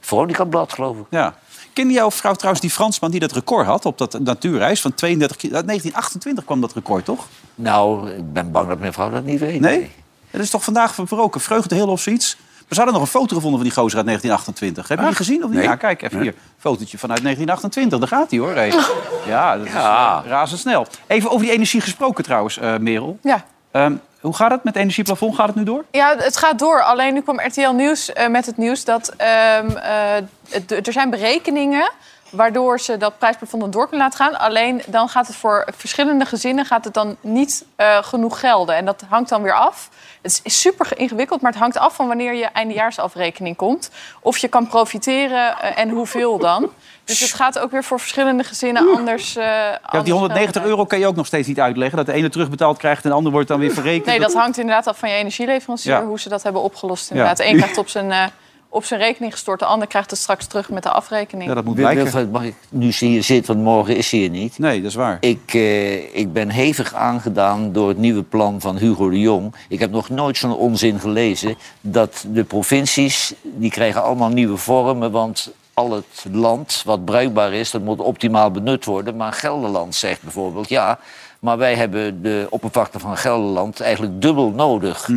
S2: Veronica Blad, geloof ik.
S1: Ja. Kende jouw vrouw trouwens die Fransman die dat record had op dat natuurreis van 32 kilo? Uit 1928 kwam dat record, toch?
S2: Nou, ik ben bang dat mijn vrouw dat niet weet.
S1: Nee? Dat is toch vandaag verbroken? Vreugde heel of zoiets? We zouden nog een foto gevonden van die gozer uit 1928. Heb je die gezien? Of niet? Ja, kijk, even hier. Fotootje vanuit 1928. Daar gaat hij hoor.
S8: Oh.
S1: Hey. Ja, dat is eh, razendsnel. Even over die energie gesproken trouwens, eh, Merel.
S8: Ja.
S1: Ehm, hoe gaat het met energieplafond? Gaat het nu door?
S8: Ja, het gaat door. Alleen nu kwam RTL Nieuws eh, met het nieuws dat ehm, eh, het- er zijn berekeningen waardoor ze dat prijsplafond dan door kunnen laten gaan. Alleen dan gaat het voor verschillende gezinnen gaat het dan niet eh, genoeg gelden. En dat hangt dan weer af. Het is super ingewikkeld, maar het hangt af van wanneer je eindejaarsafrekening komt. Of je kan profiteren eh, en hoeveel dan. Dus het gaat ook weer voor verschillende gezinnen anders. eh,
S1: Ja,
S8: anders
S1: die 190
S8: gelden.
S1: euro kan je ook nog steeds niet uitleggen. Dat de ene terugbetaald krijgt en de ander wordt dan weer verrekend.
S8: Nee, dat hangt inderdaad af van je energieleverancier,
S1: Ja.
S8: hoe ze dat hebben opgelost. Inderdaad.
S1: Ja.
S8: Eén krijgt op zijn, eh, op zijn rekening gestort, de ander krijgt het straks terug met de afrekening.
S1: Ja, dat moet
S2: Wil-
S1: blijken.
S2: Wilfred, mag ik nu ze hier zit, want morgen is ze hier niet.
S1: Nee, dat is waar.
S2: Ik, eh, ik ben hevig aangedaan door het nieuwe plan van Hugo de Jong. Ik heb nog nooit zo'n onzin gelezen dat de provincies... die krijgen allemaal nieuwe vormen, want al het land wat bruikbaar is... dat moet optimaal benut worden. Maar Gelderland zegt bijvoorbeeld, ja... maar wij hebben de oppervlakte van Gelderland eigenlijk dubbel nodig.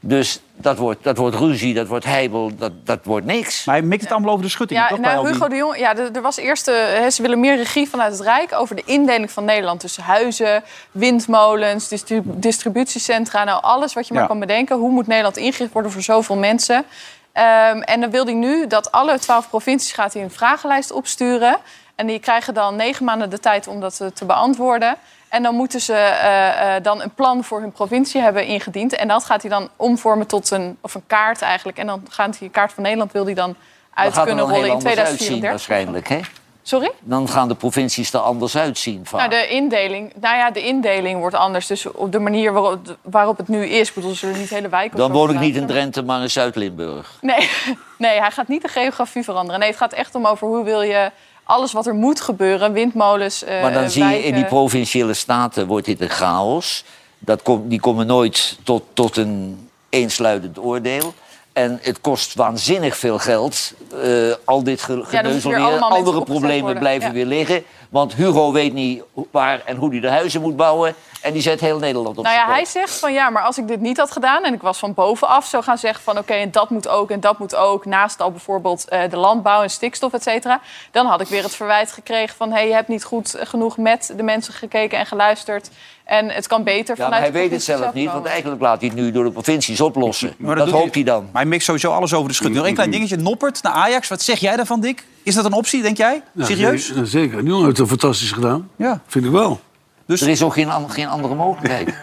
S2: Dus dat wordt, dat wordt ruzie, dat wordt heibel, dat, dat wordt niks.
S1: Maar hij mikt het allemaal over de schutting.
S8: Ja,
S1: toch, bij al
S8: nou,
S1: die-
S8: Hugo de Jong, ja, er, er was eerst, eh, hè, ze willen meer regie vanuit het Rijk over de indeling van Nederland. Dus huizen, windmolens, distribu- distributiecentra, nou alles wat je
S1: Ja.
S8: maar kan bedenken. Hoe moet Nederland ingericht worden voor zoveel mensen? Ehm, en dan wil hij nu dat alle twaalf provincies gaat hij een vragenlijst opsturen. En die krijgen dan negen maanden de tijd om dat eh, te beantwoorden. En dan moeten ze eh, eh, dan een plan voor hun provincie hebben ingediend. En dat gaat hij dan omvormen tot een, of een kaart eigenlijk. En dan gaat hij, de kaart van Nederland wil hij dan
S2: Dan
S8: uit
S2: gaat er
S8: kunnen
S2: nog heel
S8: rollen in
S2: anders uitzien dus-
S8: 2034.
S2: waarschijnlijk, hè?
S8: Sorry?
S2: Dan gaan de provincies er anders uitzien vaak.
S8: Nou, de indeling, nou ja, de indeling wordt anders. Dus op de manier waarop, waarop het nu is, bedoel, ze zullen niet hele wijken... of
S2: Dan
S8: zo
S2: woon ik niet
S8: verplaatsen.
S2: in Drenthe, maar in Zuid-Limburg.
S8: Nee, nee, hij gaat niet de geografie veranderen. Nee, het gaat echt om over hoe wil je alles wat er moet gebeuren... windmolens, eh,
S2: Maar dan zie je in die
S8: wijken.
S2: provinciale staten wordt dit een chaos. Dat kom, die komen nooit tot, tot een eensluidend oordeel. En het kost waanzinnig veel geld. eh, al dit ge- geneuzel
S8: weer
S2: hier.
S8: allemaal mensen
S2: Andere
S8: opgezet
S2: problemen
S8: worden.
S2: blijven
S8: Ja.
S2: weer liggen. Want Hugo weet niet hoe- waar en hoe hij de huizen moet bouwen. En die zet heel Nederland op
S8: Nou
S2: zijn
S8: ja,
S2: kop.
S8: hij zegt van ja, maar als ik dit niet had gedaan en ik was van bovenaf zo gaan zeggen van oké, en dat moet ook en dat moet ook, naast al bijvoorbeeld eh, de landbouw en stikstof, et cetera, dan had ik weer het verwijt gekregen van hé, hey, je hebt niet goed genoeg met de mensen gekeken en geluisterd en het kan beter
S2: Ja, maar
S8: vanuit
S2: hij
S8: de
S2: weet het
S8: provincie
S2: zelf niet, want
S8: komen.
S2: eigenlijk laat hij het nu door de provincies oplossen.
S1: Maar
S2: dat
S1: doet
S2: hoopt hij dan.
S1: Maar hij mixt sowieso alles over de schutting. Nog één klein dingetje. Noppert naar Ajax. Wat zeg jij daarvan, Dick? Is dat een optie, denk jij?
S3: Ja,
S4: Nou,
S1: Serieus?
S3: Nou, nee, ja, zeker. Die jongen heeft het fantastisch gedaan.
S1: Ja.
S3: Vind ik wel.
S1: Dus
S2: Er is ook geen, an- geen andere mogelijkheid.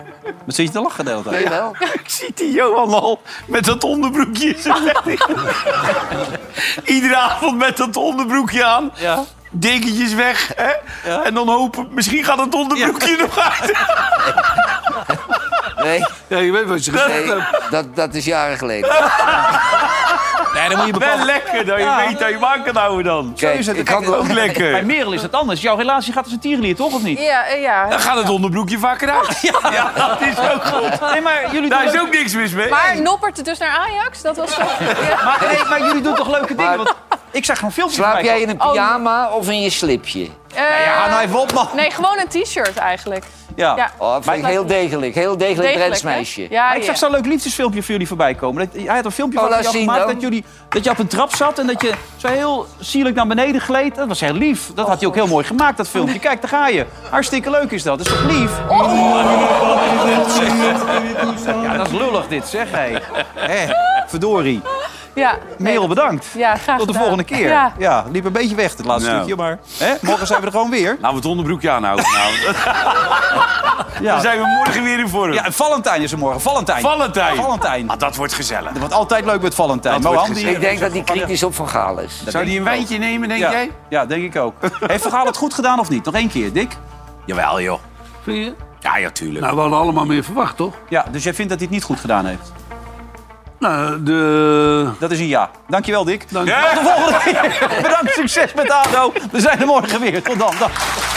S1: wat zit je te lachen de hele tijd?
S2: Jawel.
S4: ik zie die Johan al met dat onderbroekje in zijn bed. Iedere avond met dat onderbroekje aan.
S1: Ja.
S4: Dekentjes weg. Hè? En dan hopen, misschien gaat het onderbroekje nog uit.
S2: Nee.
S4: Ja, je weet wat je gezegd
S2: Nee,
S4: hebt.
S2: dat, dat is jaren geleden.
S1: Nee, dan moet je
S4: Wel
S1: bepalen.
S4: lekker dat je
S1: Ja.
S4: weet dat je waar kan houden dan.
S2: Kijk,
S1: is het.
S2: ik
S1: Kijk,
S2: had
S4: Ook lekker.
S1: Bij Merel is het anders. Jouw relatie gaat als een tierenlier, toch of niet?
S8: Ja, eh, ja.
S4: Dan gaat het onderbroekje vaker uit. Ja, dat is ook goed.
S1: Nee, maar jullie
S4: Daar
S1: doen
S4: is
S1: leuk-
S4: ook niks mis mee.
S8: Maar Noppert dus naar Ajax? Dat was toch... Ja.
S1: maar, nee, maar jullie doen toch leuke dingen? Want ik zag gewoon filmpjes
S2: Slaap
S1: voorbij
S2: jij in een
S8: Oh.
S2: pyjama of in je slipje?
S1: komen.
S8: Eh,
S1: Ja, nou even op, man.
S8: Nee, gewoon een t-shirt eigenlijk.
S1: Ja.
S8: Ja.
S2: Oh, dat vind ik heel degelijk. Heel degelijk,
S8: Degelijk,
S2: Drents
S8: hè?
S2: meisje.
S8: Ja,
S1: Maar ik
S8: ja.
S1: zag zo'n leuk liefdesfilmpje voor jullie voorbij komen. Dat, hij had een filmpje
S2: Oh,
S1: van
S2: laat
S1: jou
S2: zien
S1: gemaakt
S2: dan.
S1: dat, jullie, dat je op een trap zat en dat je zo heel sierlijk naar beneden gleed. Dat was heel lief. Dat had hij ook heel mooi gemaakt, dat filmpje. Kijk, daar ga je. Hartstikke leuk is dat. Dat is toch lief? Ja, dat is lullig dit, zeg. Hé, Hé, verdorie.
S8: Ja,
S1: Merel, bedankt.
S8: ja graag
S1: Tot de
S8: gedaan.
S1: volgende keer.
S8: Ja.
S1: liep een beetje weg het laatste
S4: Nou.
S1: stukje, maar hè, morgen zijn we er gewoon weer.
S4: Laten we het onderbroekje aanhouden. Nou. Dan
S1: Ja.
S4: zijn we morgen weer in vorm.
S1: ja, en Valentijn is er morgen. Valentijn.
S4: Valentijn.
S1: Valentijn.
S4: Ah, dat wordt gezellig.
S1: Wat altijd leuk met Valentijn.
S4: Dat wordt
S1: Mohan, die-
S4: gezellig.
S2: Ik denk dat die kritisch op Van Gaal is.
S4: Zou die een wijntje nemen, denk
S1: ja.
S4: jij?
S1: Ja, denk ik ook. Heeft Van Gaal het goed gedaan of niet? Nog één keer, Dick.
S4: Jawel, joh.
S3: Vind je?
S4: Ja, ja, tuurlijk.
S3: Nou, we hadden allemaal meer verwacht, toch?
S1: Ja, dus jij vindt dat hij het niet goed gedaan heeft?
S3: Nou, de...
S1: Dat is een ja. Dankjewel, Dick.
S3: Dank je.
S1: Tot de volgende keer. Bedankt, succes met ADO. We zijn er morgen weer. Tot dan. Dag.